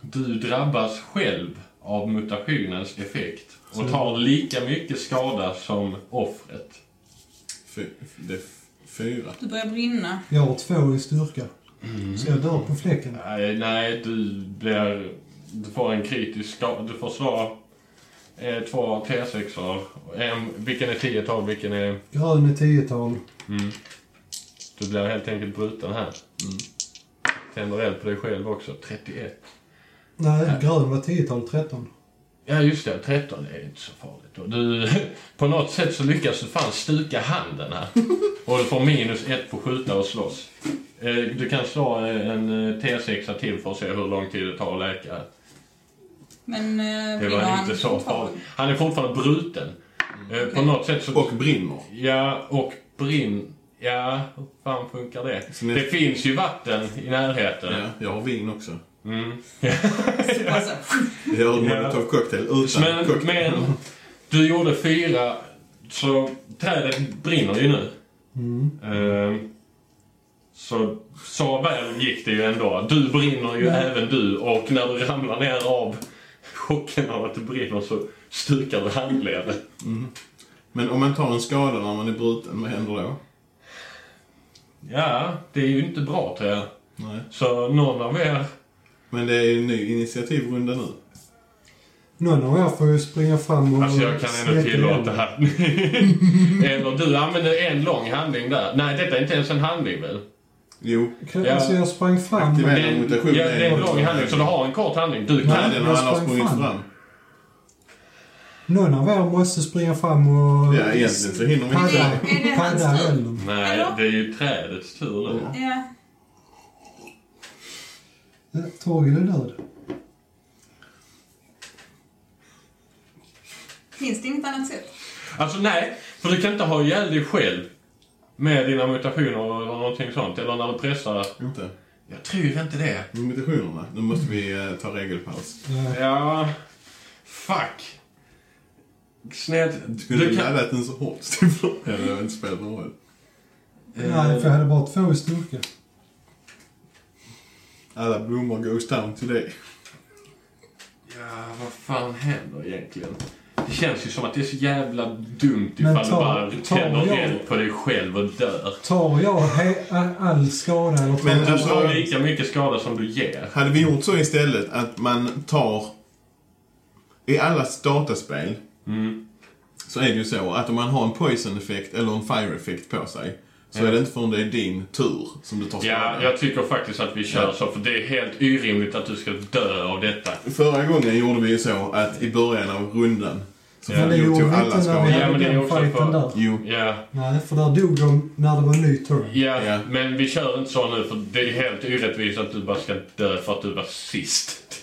S2: Du drabbas själv av mutationens effekt och tar lika mycket skada som offret.
S4: Fy, det är f- fyra.
S1: Du börjar brinna.
S3: Jag har två i styrka.
S2: Mm.
S3: Så jag dör på fläcken.
S2: Nej, nej du blir... Du får en kritisk skada. Du får slå eh, två T6-ar. En- Vilken är 10 tal, vilken är... mm.
S3: Grön är tiotal.
S2: Du blir helt enkelt bruten här. Mm. Tänder eld på dig själv också. 31.
S3: Nej, grön var tiotal, tretton.
S2: Ja, just det. 13 är inte så farligt. Och du, på något sätt så lyckas du fan stuka handen här. Och du får minus ett på skjuta och slåss. Eh, Du kan slå eh, en eh, T6 till för att se hur lång tid det tar att läka.
S1: Men eh,
S2: Det
S1: brinner
S2: var
S1: han
S2: inte så farligt.
S1: fortfarande?
S2: Han är fortfarande bruten. Eh, På något sätt så...
S4: Mm. Och brinner.
S2: Ja, och brinn... Ja, hur fan funkar det?
S4: Så ni-
S2: Det finns ju vatten i närheten.
S4: Ja, jag har vin också.
S2: Mm.
S1: Alltså,
S4: Jag har en
S2: Ja.
S4: molotov cocktail utan
S2: Men,
S4: cocktail.
S2: men du gjorde fyra, så trädet brinner ju nu. Ehm, så, så väl gick det ju ändå. Du brinner ju även du och när du ramlar ner av chocken av att det brinner så stukar du handleden.
S4: Men om man tar en skada när man är bruten, vad händer då?
S2: Ja, det är ju inte bra tror jag.
S4: Nej.
S2: Så någon av er...
S4: Men det är ju en ny initiativrunda nu.
S3: Någon av er får ju springa fram och...
S2: Alltså jag kan ändå
S3: släcka
S2: tillåta
S3: elden.
S2: här. Eller du använder en lång handling där. Nej, detta är inte ens en handling väl?
S4: Jo.
S3: Kan-
S2: Ja.
S3: Alltså jag sprang fram.
S4: Aktivera.
S2: Det är en,
S4: Mutation
S2: ja,
S4: är
S2: det är en
S4: en-
S2: lång handling, så du har en kort handling. Du
S4: Nej,
S2: kan...
S3: jag
S4: den har annars
S3: sprang
S4: sprungit
S3: fram.
S4: fram.
S3: Någon av er måste springa fram och...
S4: Ja, egentligen så hinner vi
S3: Padda,
S4: inte.
S1: Är det hans
S3: padda
S1: tur?
S3: elden.
S2: Nej, det är ju trädets tur nu.
S1: ja.
S3: Ja, Torgil är död.
S1: Finns det inget annat sätt?
S2: Alltså nej, för du kan inte ha ihjäl dig själv med dina mutationer eller någonting sånt. Eller när du pressar...
S4: Inte.
S2: Jag tror inte det.
S4: Men Mutationerna. Nu måste vi eh, ta regelpaus.
S3: Ja.
S2: Ja... Fuck. Sned...
S4: Skulle
S2: Du
S4: du
S2: kan...
S4: laddat den så hårt, Stefan? Ja, det har inte spelat någon roll.
S3: Nej, för jag hade bara två i styrka.
S4: Alla blommor goes down to dig.
S2: Ja, vad fan händer egentligen? Det känns ju som att det är så jävla dumt
S3: Men
S2: ifall du
S3: tar-
S2: bara
S3: tar
S2: tänder
S3: jag-
S2: eld på dig själv och dör.
S3: Tar jag he- a- all skada eller tar
S4: Men
S3: jag-
S2: Du
S4: alltså-
S2: har lika mycket skada som du ger.
S4: Hade vi gjort så istället att man tar... I alla dataspel
S2: Mm.
S4: så är det ju så att om man har en poison-effekt eller en fire-effekt på sig så är det inte förrän det är din tur som du tar
S2: Ja,
S4: skada.
S2: jag tycker faktiskt att vi kör så, för det är helt orimligt att du ska dö av detta.
S4: Förra gången gjorde vi ju så att i början av rundan så
S2: Ja,
S3: Men det gjorde
S4: tog
S3: vi
S4: alla
S3: inte när vi
S4: skada.
S2: Ja, men
S3: hade
S2: det är
S3: den
S2: också
S3: fighten
S2: för-
S3: där.
S4: Jo,
S2: Ja,
S3: Nej, för där dog de när det var en ny turn.
S2: ja,
S4: Ja.
S2: men vi kör inte så nu, för det är helt orättvist att du bara ska dö för att du var sist.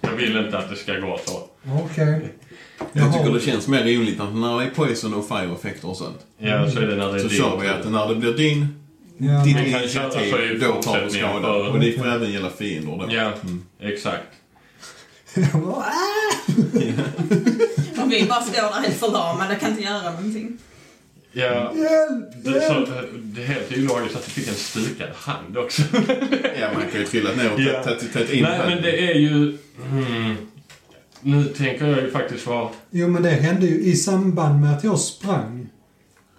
S2: Jag vill inte att det ska gå så.
S3: Okej.
S4: jag tycker
S3: Jaha.
S4: det känns mer rimligt att när det är poison och fire-effekter och sånt
S2: Ja, så är det när det är
S4: så
S2: din
S4: kör vi att
S2: tur.
S4: när det blir din,
S3: Ja,
S4: ditt
S2: Vi kan köra så i
S4: initiativ, då tar du
S2: fortsättningen
S4: skada.
S2: för-
S4: Och det får även gälla fiender då.
S2: Ja, exakt.
S3: jag bara, "Ah!"
S1: Och vi bara står där helt förlamade, kan inte göra någonting.
S2: Ja,
S3: Hjälp!
S2: det, så,
S3: Hjälp!
S2: det är helt ologiskt att du fick en stukad hand också.
S4: Ja, man kan ju trilla ner och
S2: Ja.
S4: tätt- tätt tätt in
S2: Nej, men det är ju... Mm, nu tänker jag ju faktiskt vara...
S3: Jo, men det hände ju i samband med att jag sprang.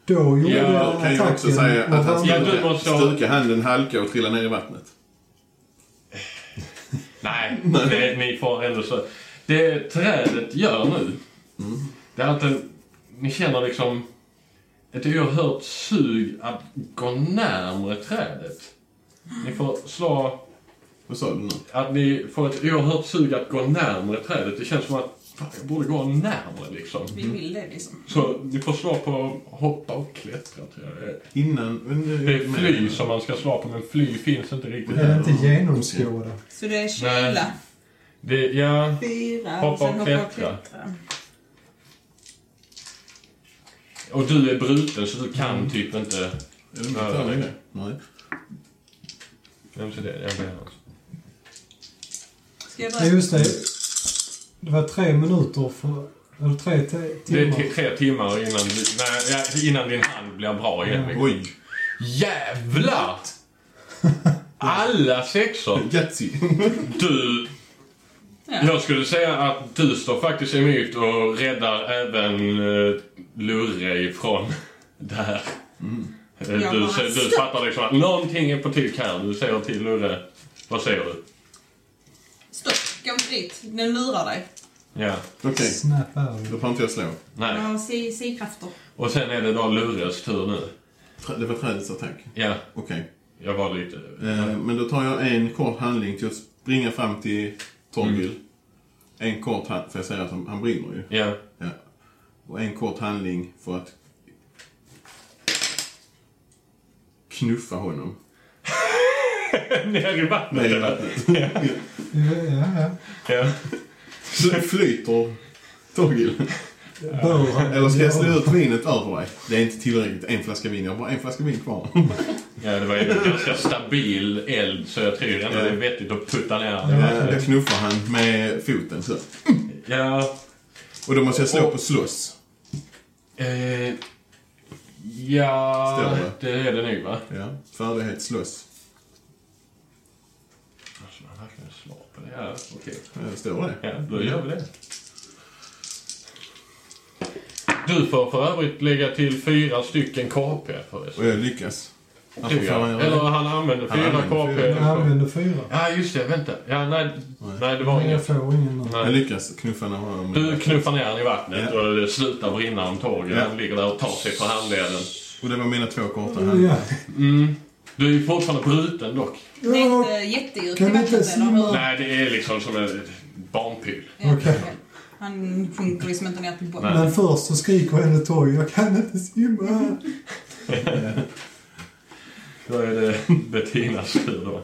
S3: Då gjorde
S2: Ja,
S3: jag
S4: Jag kan ju också säga
S3: och
S4: att han
S3: han-
S2: Ja,
S4: skulle
S2: du måste ha-
S4: stuka handen, halka och trilla ner i vattnet.
S2: Nej, det, ni får ändå så. Det trädet gör nu, det är att den, ni känner liksom ett oerhört sug att gå närmre trädet. Ni får slå,
S4: Vad sa du nu?
S2: att ni får ett oerhört sug att gå närmre trädet. Det känns som att fan, jag borde gå närmre liksom.
S1: Vi vill det liksom.
S2: Så ni får slå på hoppa och klättra tror jag det är.
S4: Innan... Men,
S2: Det är
S4: Mm.
S2: fly som man ska slå på, men fly finns inte riktigt.
S3: Den är inte genomskåda.
S1: Så det är kyla.
S2: Det, ja,
S1: Fyra,
S2: Hoppa och
S1: sen hoppa och
S2: klättra.
S1: klättra.
S2: Och du är bruten så du kan typ inte...
S4: Är det mitt här längre? Nej.
S2: Vem så det? Jag menar alltså.
S1: Ska jag
S3: Ja,
S1: börja?
S3: just det. Det var tre minuter för... Eller tre te-
S2: Det är
S3: timmar.
S2: t- tre timmar innan, du- nej, ja, innan din hand blir bra igen. liksom.
S4: Oj!
S2: Jävlar! Alla sexor.
S4: Gatsi!
S2: Du...
S1: Ja.
S2: Jag skulle säga att du står faktiskt emot och räddar även eh, Lurre ifrån det här. Eh,
S1: Ja,
S2: Du,
S1: men
S2: se- du
S1: alltså.
S2: fattar liksom att någonting är på tok här. Du säger till Lurre. Vad säger du?
S1: Stopp, gå inte dit. Den lurar dig.
S2: Ja.
S4: Okej,
S3: Snap out.
S4: då får inte jag slå.
S2: Nej.
S1: Den har si- si-krafter.
S2: Och sen är det då Lurres tur nu.
S4: Trä- Det var trädets attack.
S2: Ja,
S4: Okej.
S2: jag var lite...
S4: Eh, men då tar jag en kort handling till att springa fram till Torgil.
S2: Mm.
S4: En kort handling, för jag säger att han, han brinner ju.
S2: Ja.
S4: Ja. Och en kort handling för att knuffa honom.
S2: Ner i vattnet.
S4: Nej, i vattnet.
S3: Ja, ja.
S2: Ja.
S4: Så flyter Torgil.
S3: ja. Bör han-
S4: Eller ska jag slå
S3: Ja.
S4: ut vinet över dig? Det är inte tillräckligt. En flaska vin. Jag har bara en flaska vin kvar.
S2: ja, det var ju en ganska stabil eld så jag tror ändå det är vettigt att putta ner den.
S4: Eh, Då knuffar han med foten så.
S2: Ja.
S4: Och då måste jag slå på slåss.
S2: Eh, ja,
S4: Står det?
S2: det är det nog va?
S4: Ja. Färdighet slåss.
S2: Alltså, man verkligen slår på det. Ja, okej.
S4: Eh, Står det?
S2: Ja, då gör vi det. Du får för övrigt lägga till fyra stycken KP förresten.
S4: Och jag lyckas. Varför
S2: Tror
S4: får han
S2: jag.
S4: göra
S2: Eller
S4: det?
S2: han använder
S4: Han
S2: fyra
S4: använder
S2: KP.
S4: fyra.
S3: Jag använder fyra.
S2: Ja, just det. Vänta. Ja, nej, nej, det var
S3: Men
S2: inget.
S3: jag får ingen nu.
S4: Jag
S2: Nej.
S4: lyckas knuffa ner honom.
S2: Du knuffar ner den i vattnet
S4: Ja.
S2: och det slutar brinna om tåget.
S4: Ja.
S2: Han ligger där och tar sig för handleden. Mm.
S4: Och det var mina två korta
S3: Ja.
S4: här.
S2: Du är fortfarande bruten dock.
S1: Det är eh, inte jättedjupt
S3: Kan
S1: i
S3: vi inte
S1: vattnet, eller
S3: simma?
S1: hur?
S2: Nej, det är liksom som en barnpyl.
S1: Ja,
S3: Okej.
S1: Han sjunker liksom inte ner till botten.
S3: Men först så skriker jag till Torg, jag kan inte simma.
S2: Då är det Bettinas tur då.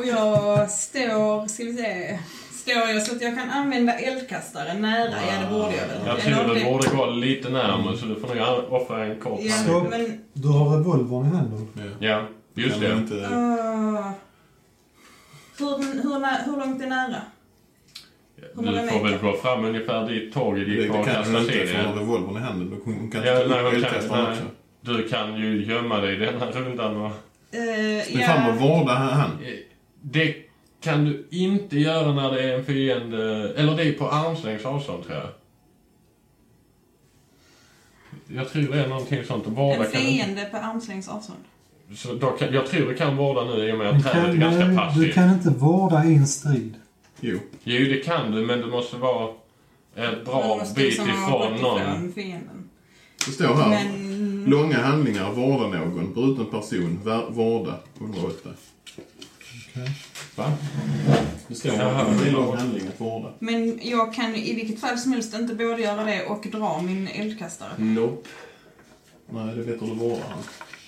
S1: Och jag står, ska vi se. Står jag så att jag kan använda eldkastare nära? Ja, det borde jag väl.
S2: Jag
S1: Eller
S2: tror
S1: om
S2: det
S1: det-
S2: borde gå lite närmare så du får nog offra en kort
S1: Ja,
S2: handling.
S3: Stopp.
S1: men...
S3: Du har revolvern i handen.
S2: Ja, just
S4: Kan man
S2: det.
S4: Inte...
S1: ah. hur, hur, nä- hur långt är nära?
S2: Du får väl gå fram ungefär dit tåget
S4: Det,
S2: gick och
S4: kan hon
S2: kasta sig
S4: inte,
S2: i
S4: för hon har
S2: det.
S4: revolvern i handen. Då kan hon kan
S2: Ja,
S4: inte
S2: nej, hon kan,
S4: eldkastaren
S2: nej.
S4: också.
S2: Du kan ju gömma dig i den här rundan och...
S1: Uh,
S4: Men fan vad vårda han. han.
S2: Eh, Det kan du inte göra när det är en fiende... Eller det är på armslängds avstånd, tror jag. Jag tror det är någonting sånt. Och
S1: En
S2: Vårda kan du inte...
S1: fiende på armslängds avstånd.
S2: Så då kan, jag tror du kan vårda nu i och med
S3: Du
S2: att trädet är
S3: kan,
S2: ganska
S3: nej, du
S2: passivt.
S3: kan inte vårda en strid.
S4: Jo.
S2: Jo, det kan du, men du måste vara ett
S1: Man
S2: bra
S1: måste
S2: bit
S1: liksom ha
S2: ifrån
S1: gått
S2: någon.
S1: ifrån Fienden.
S4: Det står här.
S1: Men-
S4: Långa handlingar, vårda någon, bruten person, vär- vårda 108.
S2: Va?
S4: Det står
S2: Jaha.
S4: här. Det är en lång handling att vårda.
S1: Men jag kan i vilket fall som helst inte både göra det och dra min eldkastare.
S2: Nope.
S4: Nej, det vet du vårdar han.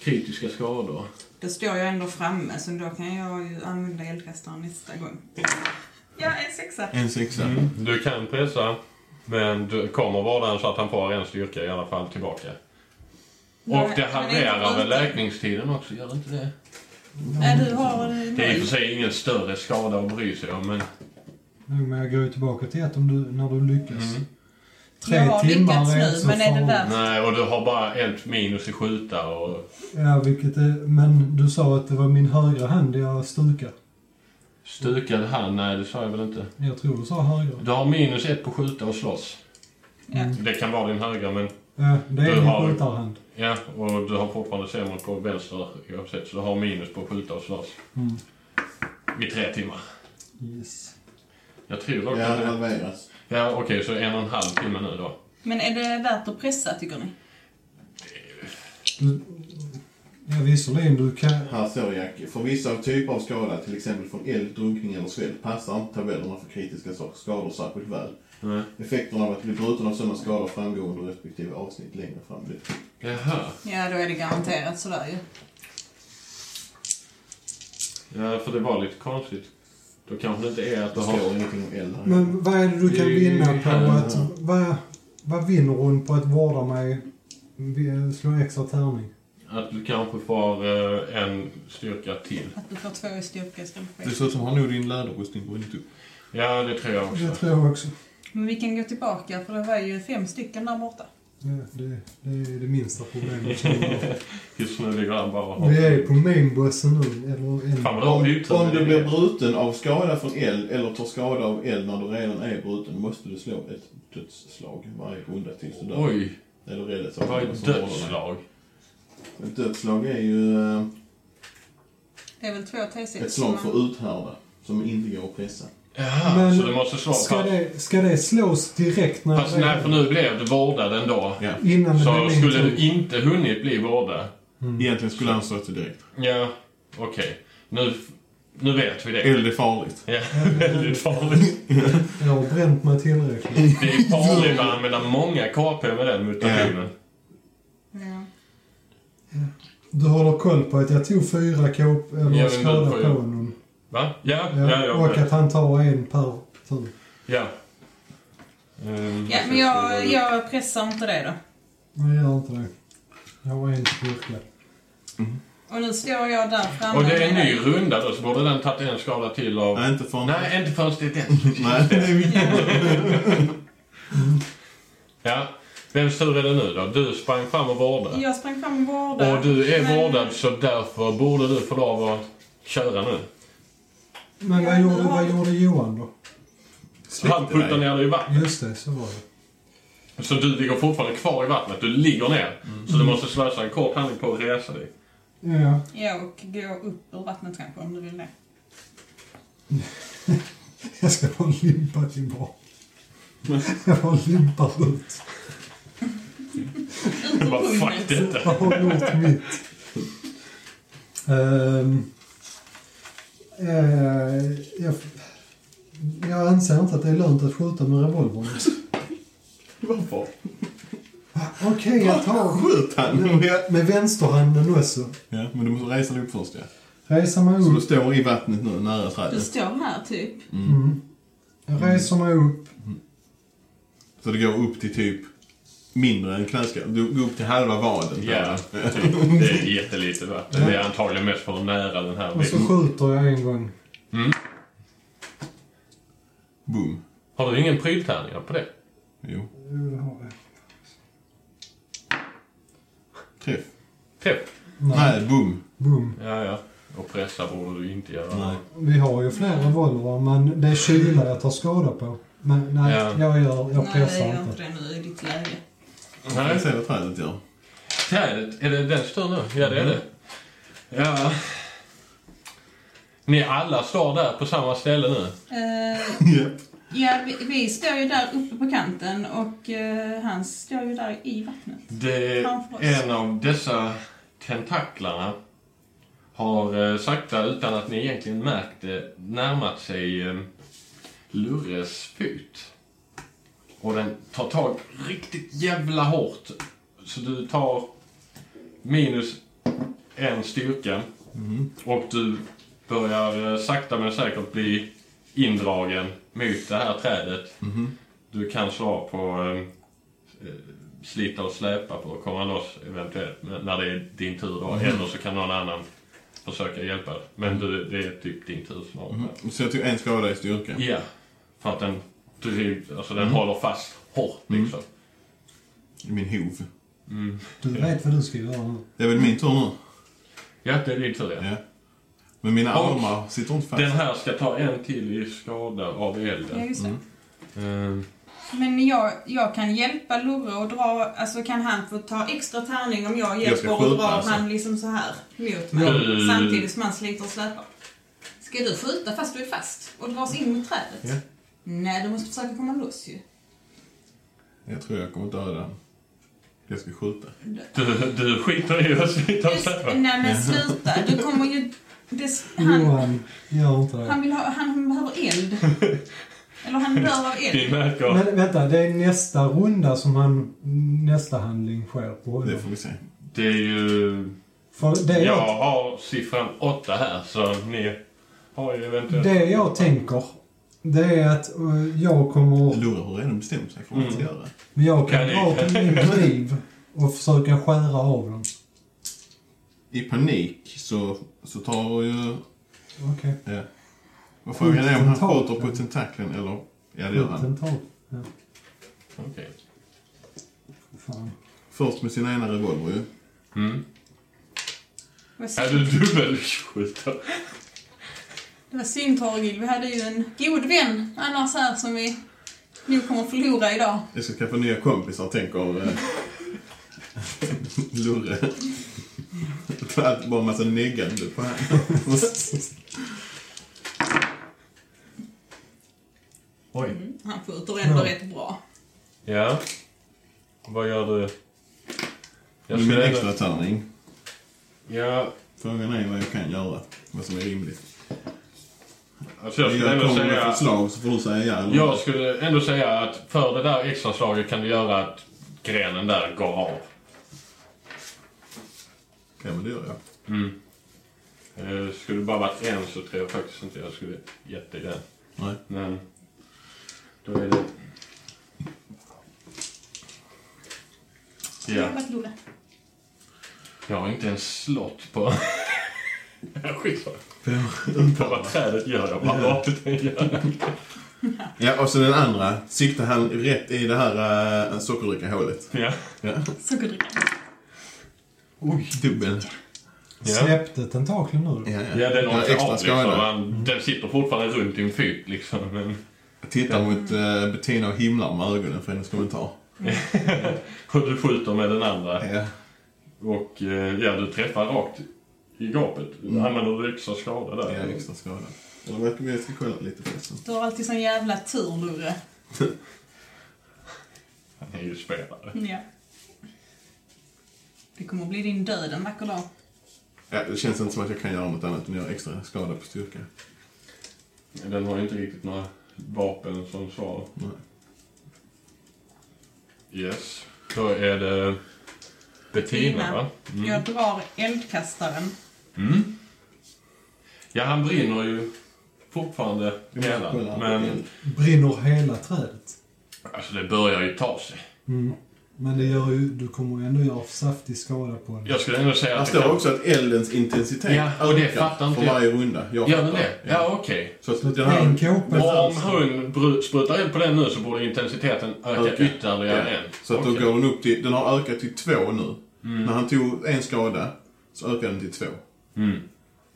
S2: Kritiska skador.
S1: Då står jag ändå framme, så då kan jag ju använda eldkastaren nästa gång. Ja, en sexa.
S4: En sexa.
S2: Du kan pressa, men du kommer vara den så att han får en styrka i alla fall tillbaka.
S1: Nej,
S2: Och det
S1: men det är
S2: halverar
S1: inte
S2: väl
S1: bruten.
S2: läkningstiden också, gör det inte det?
S1: Nej, du har eh,
S2: Det är i och
S1: noll.
S2: för sig ingen större skada att bry sig om, men...
S3: Nog med jag går ju tillbaka till ett om du, när du lyckas.
S2: Mm.
S3: Tre
S1: Jag har lyckats
S3: timmar är
S1: nu,
S3: inte så
S1: men är det
S3: farligt.
S1: värt
S2: Nej, och du har bara ett minus i skjuta och...
S3: Ja, vilket är, men du sa att det var min högra hand jag stukar.
S2: Stukad hand? Nej, det sa jag väl inte.
S3: Jag tror du sa högra.
S2: Du har minus ett på skjuta och slåss.
S1: Ja.
S2: Det kan vara din högra, men...
S3: Ja, det
S2: Du
S3: är
S2: har-
S3: min skjutarhand.
S2: Ja, och du har fortfarande sämre på vänster oavsett, så du har minus på skjuta och slåss.
S3: Mm.
S2: I tre timmar.
S3: Yes.
S2: Jag tror
S4: Ja,
S2: dock att
S4: det
S2: det...
S4: halveras.
S2: Ja, okej, så en och en halv timme nu då.
S1: Men är det värt att pressa, tycker ni?
S3: Du, ja, visserligen, du kan...
S4: Här står Jack. För vissa typer av skada, till exempel från eld, drunkning eller svält, passar inte tabellerna för kritiska sak- skador särskilt väl.
S2: Nej.
S4: Effekterna av att bli bruten av sådana skador framgår under respektive avsnitt längre fram.
S2: Jaha.
S1: Ja, då är det garanterat sådär ju.
S2: Ja, för det var lite konstigt. Då kanske det inte är att du
S4: Det
S2: har...
S4: står ingenting om eld här.
S3: Men vad är det du kan
S2: Det-
S3: vinna på
S2: Ja.
S3: att... Vad, Vad vinner hon på att vårda mig? Vi- Slå extra tärning.
S2: Att du kanske får eh, en styrka till.
S1: Att du får två i styrka istället för ett.
S4: Dessutom har nog din läderrustning brunnit upp.
S2: Ja, det tror jag också.
S3: Det tror jag också.
S1: Men vi kan gå tillbaka för det var ju fem stycken där borta.
S3: Ja, det, det är det minsta problemet. som vi har.
S2: Just nu ligger han bara och
S3: Vi är på mainbossen nu. Eller en,
S2: Fan vad de
S4: Om,
S2: byter.
S4: om du blir bruten av skada från eld eller tar skada av eld när du redan är bruten måste du slå ett dödsslag varje runda tills du dör.
S2: Oj,
S4: Eller är det så?
S2: det var ett dödsslag.
S4: Ett dödsslag är ju eh,
S1: Det är väl två T6?
S4: ett slag för uthärda som inte går att pressa.
S2: Ja,
S3: Men
S2: så du måste slå
S3: ska,
S2: fast.
S3: det, ska det slås direkt när
S2: Fast nej, för nu blev du vårdad ändå.
S4: Ja.
S3: Innan det
S2: Så
S3: blir min
S2: skulle
S3: tur.
S2: du inte hunnit bli vårdad.
S4: Egentligen skulle han slå till direkt.
S2: Ja, okej. Nu, nu vet vi det.
S4: Eld är farligt.
S2: Ja, väldigt farligt.
S3: Jag har bränt mig tillräckligt.
S2: Det är farligt att använda många KP med den mutationen.
S1: Ja.
S3: Du håller koll på att jag tog fyra kåp
S2: Ja,
S3: eller
S2: men
S3: skada
S2: du
S3: på
S2: får ju-
S3: honom.
S2: Va? Ja,
S3: Ja,
S2: ja, jag
S3: och
S2: vet.
S3: att han tar en per tur.
S2: Ja. Ehm,
S1: ja, men jag, jag pressar inte det då.
S3: Nej, gör inte det. Jag har en styrka.
S1: Och nu står jag där framme.
S2: Och det är en
S1: med
S2: ny
S1: dig.
S2: runda då, så borde den tagit en skada till av...
S4: Nej, inte farligt.
S2: Nej, inte förrän det är den.
S4: Nej, det är mycket.
S2: Ja. Vems tur är det nu då? Du sprang fram och vårdade.
S1: Jag sprang fram och vårdade.
S2: Och du är
S1: men-
S2: vårdad så därför borde du få lov att köra nu.
S3: Men vad gjorde, vad gjorde Johan då?
S2: Han puttar ner dig i vattnet.
S3: Just det, så var det.
S2: Så du ligger fortfarande kvar i vattnet. Du ligger ner. Så du måste slösa en kort handling på att resa dig.
S3: Ja,
S1: Ja, och gå upp ur vattnet kanske om du vill det.
S3: jag ska få en limpa tillbaka. Jag har limpat ut.
S1: Ut ur
S2: Bara fuck
S1: pungen.
S2: detta.
S3: Jag har gjort mitt. Ehm, eh, jag, jag anser inte att det är lönt att skjuta med revolvern.
S4: Varför?
S3: Okej, jag tar...
S4: Skjut han! Ja.
S3: Med vänsterhanden också.
S4: ja, men du måste resa dig upp först ja.
S3: Reser mig
S4: Så du
S3: upp.
S4: står i vattnet nu, nära
S1: Du
S4: trädet.
S1: står här typ.
S3: Mm. Jag reser mig upp.
S4: Så det går upp till typ mindre än knäskål. Du går upp till halva vaden.
S2: Ja, typ. Det är jättelite vatten. Det är antagligen mest för att nära den här
S3: Och så
S2: väggen.
S3: skjuter jag en gång.
S4: Boom.
S2: Har du ingen pryltärningar på det?
S4: Jo.
S3: Jo, det har jag.
S4: Träff.
S2: Träff?
S3: Nej.
S4: Nej, boom.
S3: Boom.
S2: Ja, ja. Typ. Och pressa borde du inte göra.
S4: Nej.
S3: Vi har ju fler revolver, men det är kyla jag tar skada på. Men nej,
S2: Ja.
S3: jag, gör, jag
S1: Nej, jag
S3: pressar
S1: gör inte
S3: inte.
S1: det nu i ditt läge.
S4: Vi
S2: Nej.
S4: ser vad trädet gör.
S2: Trädet, är det den står nu? Ja, det är det. Mm. Ja. Ni alla står där på samma ställe nu.
S1: Eh,
S4: Japp.
S1: ja, vi, vi står ju där uppe på kanten och eh, han står ju där i vattnet.
S2: Det,
S1: Framför oss.
S2: en av dessa tentaklarna har eh, sakta, utan att ni egentligen märkt det, närmat sig eh, Lurres fot. Och den tar tag riktigt jävla hårt. Så du tar minus en styrka och du börjar eh, sakta men säkert bli indragen mot det här trädet. Du kan slå på eh, slita och släpa för att komma loss eventuellt men när det är din tur då. Eller så kan någon annan försöka hjälpa dig. Men du, det är typ din tur snart.
S4: Så jag tog en skada i styrka.
S2: Ja, för att den, driv, alltså den håller fast hårt liksom.
S4: I min hov.
S3: Du vet vad du ska göra nu.
S4: Det är väl min tur nu?
S2: Ja, det är din tur ja.
S4: Ja. Men mina
S2: Och-
S4: armar sitter inte fast.
S2: Den här ska ta en till i skada av
S1: Ja,
S2: elden.
S1: just det.
S2: Ehm,
S1: Men jag, jag kan hjälpa Lurre och dra, alltså kan han få ta extra tärning om jag
S4: Jag ska
S1: hjälper och
S4: skjuta,
S1: drar
S4: alltså.
S1: han liksom så här mot mig
S2: Ja.
S1: samtidigt som han sliter och släpar. Ska du skjuta fast du är fast och dras in mot trädet?
S4: Ja.
S1: Nej, du måste försöka komma loss ju.
S4: Jag tror jag kommer döda den. Jag ska skjuta.
S2: du, du skiter i att slita och
S1: Just,
S2: släpa.
S1: nej men sluta, du kommer ju... Det, han,
S3: Johan, gör inte det.
S1: han, vill ha, han behöver eld. Eller han dör av eld.
S2: Ni märker
S3: Men vänta, det är nästa runda som han, nästa handling sker på honom.
S4: Det får vi se.
S2: Det är ju...
S3: För det
S2: Jag
S3: jag,
S2: har siffran 8 här så ni har ju eventuellt...
S3: det jag tänker Det är att eh, jag kommer...
S4: Lura har redan bestämt sig för vad han
S2: Mm.
S4: ska göra.
S3: Men jag kan
S2: Kan ni?
S3: dra till min kniv och försöka skära av dem.
S4: I panik så, så tar ju...
S3: Okej.
S4: Ja. Vad frågan är om han
S3: Tentakeln.
S4: skjuter på tentaklen eller... Ja, det gör han.
S3: Tentakel. Ja,
S2: Okej.
S3: fan.
S4: Först med sin ena revolver ju.
S2: Mm.
S1: Det var synd-
S2: Ja, du dubbelskjuter.
S1: Det var synd Torgil, vi hade ju en god vän annars här som vi nog kommer förlora idag.
S4: Jag ska skaffa nya kompisar, tänker eh, Lurre. För att bara en massa neggande på honom.
S2: Oj.
S1: Han skjuter ändå
S3: Ja.
S1: rätt bra.
S2: Ja. Vad gör du?
S4: Det
S2: skulle
S4: är min
S2: ändå-
S4: extra tärning.
S2: Ja,
S4: Frågan är vad jag kan göra. Vad som är rimligt.
S2: alltså jag skulle
S4: jag
S2: ändå
S4: kommer med
S2: säga...
S4: förslag så får du säga ja eller
S2: Jag skulle ändå säga att för det där extra slaget kan du göra att grenen där går av.
S4: Ja, men det gör jag.
S2: Eh, Skulle det bara varit en så tror jag faktiskt inte jag skulle gett dig den.
S4: Nej.
S2: Men då är det...
S1: Bra
S2: Ja.
S1: jobbat Lola.
S2: Jag har inte ens slått på... Skitsamma. På
S4: Uttalar.
S2: vad trädet gör jag bara rakt ut den gör.
S4: Ja, och så den andra. Siktar han rätt i det här uh, sockerdricka hålet.
S2: Ja.
S4: Ja.
S1: Sockerdricka.
S4: Oj, dubbel.
S2: Ja.
S3: Släppte tentaklen nu då?
S4: Ja,
S2: ja, den har inte
S4: extra
S2: av liksom.
S4: skada.
S2: Han- Den sitter fortfarande runt i en fyt liksom. Men...
S4: Jag Tittar mot eh, Bettina och himlar med ögonen för hennes kommentar.
S2: Och du skjuter med den andra.
S4: Ja.
S2: Och eh, ja, du träffar rakt i gapet. Använder du extra skada
S4: Mm. Ja,
S2: där?
S4: extra skada. Och det verkar vi ska kolla lite förresten.
S1: Du har alltid sån jävla tur Lurre.
S2: Han är ju spelare.
S1: Ja. Det kommer bli din död en vacker dag.
S4: Ja, det känns inte som att jag kan göra något annat än att göra extra skada på styrka.
S2: Den har ju inte riktigt några vapen som svar.
S4: Nej.
S2: Yes. Då är det Bettina, va?
S1: Jag drar eldkastaren.
S2: Mm. Ja, han brinner ju fortfarande
S4: Jag måste
S2: redan.
S4: kolla.
S2: Men
S3: Brinner hela trädet.
S2: alltså, det börjar ju ta sig.
S3: Men det gör ju, du kommer ändå göra saftig skada på den.
S2: Jag skulle ändå säga
S4: Här
S2: att... det
S4: står
S2: kan-
S4: också att eldens intensitet
S2: Ja, och det
S4: ökar
S2: fattar inte
S4: för
S2: jag.
S4: varje runda. Jag
S2: Gör den
S4: fattar.
S2: det? Ja, okej.
S4: Så att den
S3: En
S4: här...
S3: kåpa
S2: Och om
S3: först.
S2: hon bru- sprutar eld på den nu så borde intensiteten öka
S4: Öka.
S2: ytterligare en.
S4: Så att då
S2: Okej.
S4: går den upp till... Den har ökat till två nu. När han tog en skada så ökade den till två.
S2: Mm.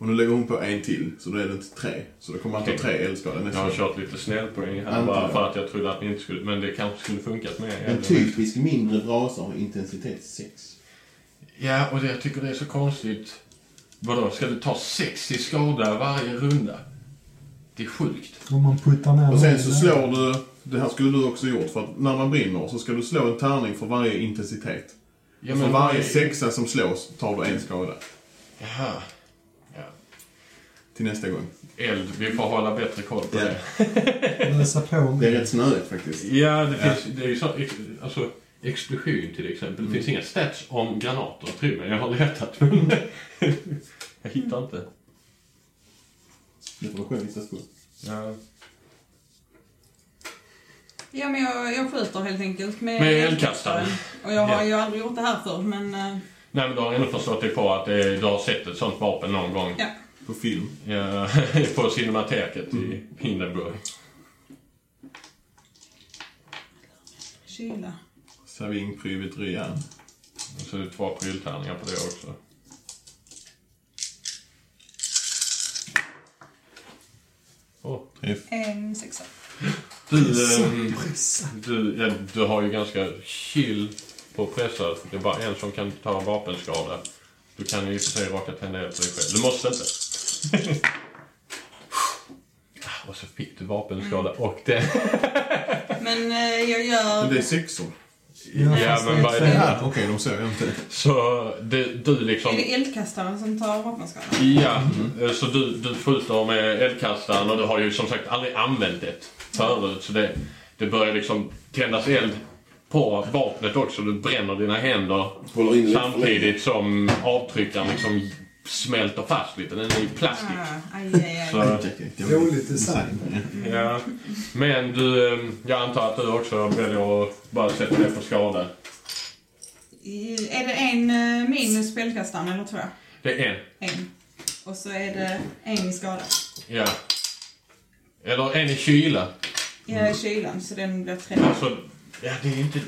S4: Och nu lägger hon på en till, så då är den till tre. Så då kommer han ta
S2: Okej.
S4: tre eldskador nästa
S2: Jag har
S4: gång.
S2: kört lite snällpoäng här
S4: Antar
S2: bara
S4: jag.
S2: för att jag trodde att ni inte skulle... Men det kanske skulle funkat med.
S4: En typisk mindre brasa har intensitet 6.
S2: Ja, och det, jag tycker det är så konstigt. Vadå, ska du ta 60 skada varje runda? Det är sjukt.
S3: Om man puttar ner
S4: Och sen
S3: den
S4: så
S3: i
S4: slår du... Det här skulle du också gjort, för att när man brinner så ska du slå en tärning för varje intensitet.
S2: Ja,
S4: för varje sexa som slås tar du en skada.
S2: Jaha. Ja.
S4: Till nästa gång.
S2: Eld, vi får hålla bättre koll på
S4: Ja.
S2: det.
S3: näven. Läsa på
S4: Det
S3: mig.
S4: är rätt snöigt faktiskt.
S2: Ja, det finns... Det är ju så, ex, alltså, explosion till exempel. Det finns inga stats om granater, tror jag. Jag har letat, men... jag hittar inte.
S4: Det får du själv vissa skuld.
S2: Ja.
S1: Ja, men jag, jag skjuter helt enkelt med,
S2: Med eldkastaren.
S1: Och jag har
S2: Ja.
S1: ju aldrig gjort det här förr, men... eh,
S2: Nej, men du har ändå förstått dig på att det, du har sett ett sånt vapen någon gång.
S1: Ja.
S4: På film.
S2: Ja, på Cinemateket i Hindenburg.
S1: Kyla.
S4: Saving Private Ryan.
S2: Och så är det två pryltärningar på det också. Åh.
S4: Träff.
S1: En sexa.
S2: Du, ehm,
S3: Pressa.
S2: du, ja, du har ju ganska chill på pressar. Det är bara en som kan ta vapenskada. Du kan ju i och för sig raka tända eld på dig själv. Du måste inte. Ah, Och så fick du vapenskada och det...
S1: Men eh, jag gör...
S4: Men det är sexor.
S3: Ja,
S2: Ja,
S3: fast det
S2: men
S3: är
S2: vad är
S3: tre.
S2: det?
S4: Ja, okej, de såg jag inte.
S2: Så det, du liksom...
S1: Är det eldkastaren som tar vapenskada?
S2: Ja, eh, så du, du skjuter med eldkastaren och du har ju som sagt aldrig använt det förut. Så det, det börjar liksom tändas eld på vapnet också. Du bränner dina händer
S4: Håller in lite för länge.
S2: samtidigt som avtryckaren liksom smälter fast lite. Den är i plastik.
S1: Ah, aj, aj, aj.
S2: Så,
S3: Dåligt design.
S2: ja. Men du, eh, jag antar att du också väljer att bara sätta dig på skada.
S1: I- Är det en eh, minus spelkastaren eller två?
S2: Det är en.
S1: En. Och så är det en i skada.
S2: Ja. Eller en i kyla.
S1: I eh,
S2: Mm.
S1: kylan, så den blir tre.
S2: Alltså, ja det är inte...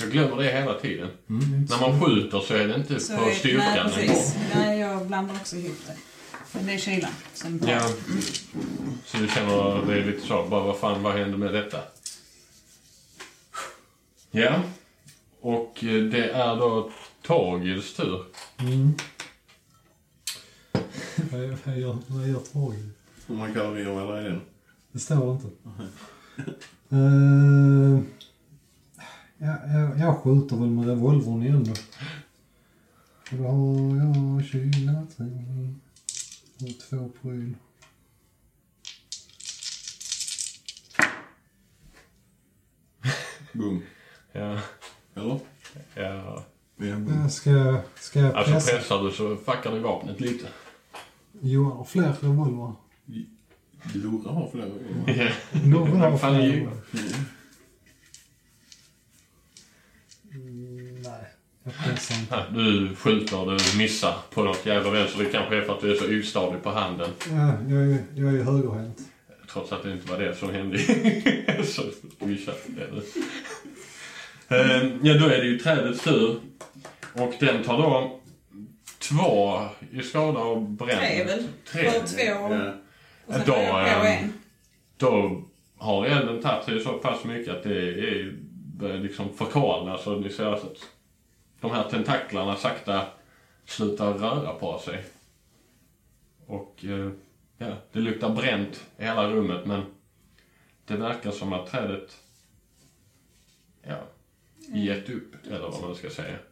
S2: Jag glömmer det hela tiden. När man skjuter så är det inte
S1: Så
S2: på
S1: är- Nej,
S2: styrkan ändå.
S1: precis. Nej, jag blandar också ihop det. Men det är kylan som tar.
S2: Ja. Så du känner det är lite så, bara vad fan, vad händer med detta? Ja. Och eh, det är då Torgils tur.
S3: Mm. Vad- Vad gör, vad gör Torgil?
S4: Om man kallar det eller är det?
S3: Det står inte. Eh, ja, jag, jag skjuter väl med revolvern igen då. Och då har jag kyla, tre och två pryl.
S4: Boom.
S2: Ja.
S4: Eller?
S2: ja.
S4: Ja, boom.
S3: Ja, Ska, jag- ska jag
S2: Alltså
S3: pressa?
S2: pressar du så fuckar du vapnet lite.
S3: Johan har fler revolvrar.
S4: Lora har flera gånger.
S2: Ja.
S3: Någon har
S2: Vad fan är
S3: fler
S2: ju-
S3: revolvrar. Mm, Nej, jag pressar inte.
S2: Ja, Du skjuter, du missar på något jävla vänster. Det kanske är för att du är så ostadig på handen.
S3: Ja, jag, är- jag är ju högerhänt.
S2: Trots att det inte var det som hände. så missade det. Ehm, Ja, då är det ju trädets tur. Och den tar då två i skada och bränner.
S1: Tre väl?
S2: Tre.
S1: För två
S4: Ja.
S1: och sen
S2: Då,
S1: har jag på
S2: ehm,
S1: en.
S2: Då har elden tagit sig så pass mycket att det är, börjar liksom förkalna så ni ser att de här tentaklarna sakta slutar röra på sig. Och eh, ja, det luktar bränt i hela rummet men det verkar som att trädet ja, gett upp eller vad man ska säga.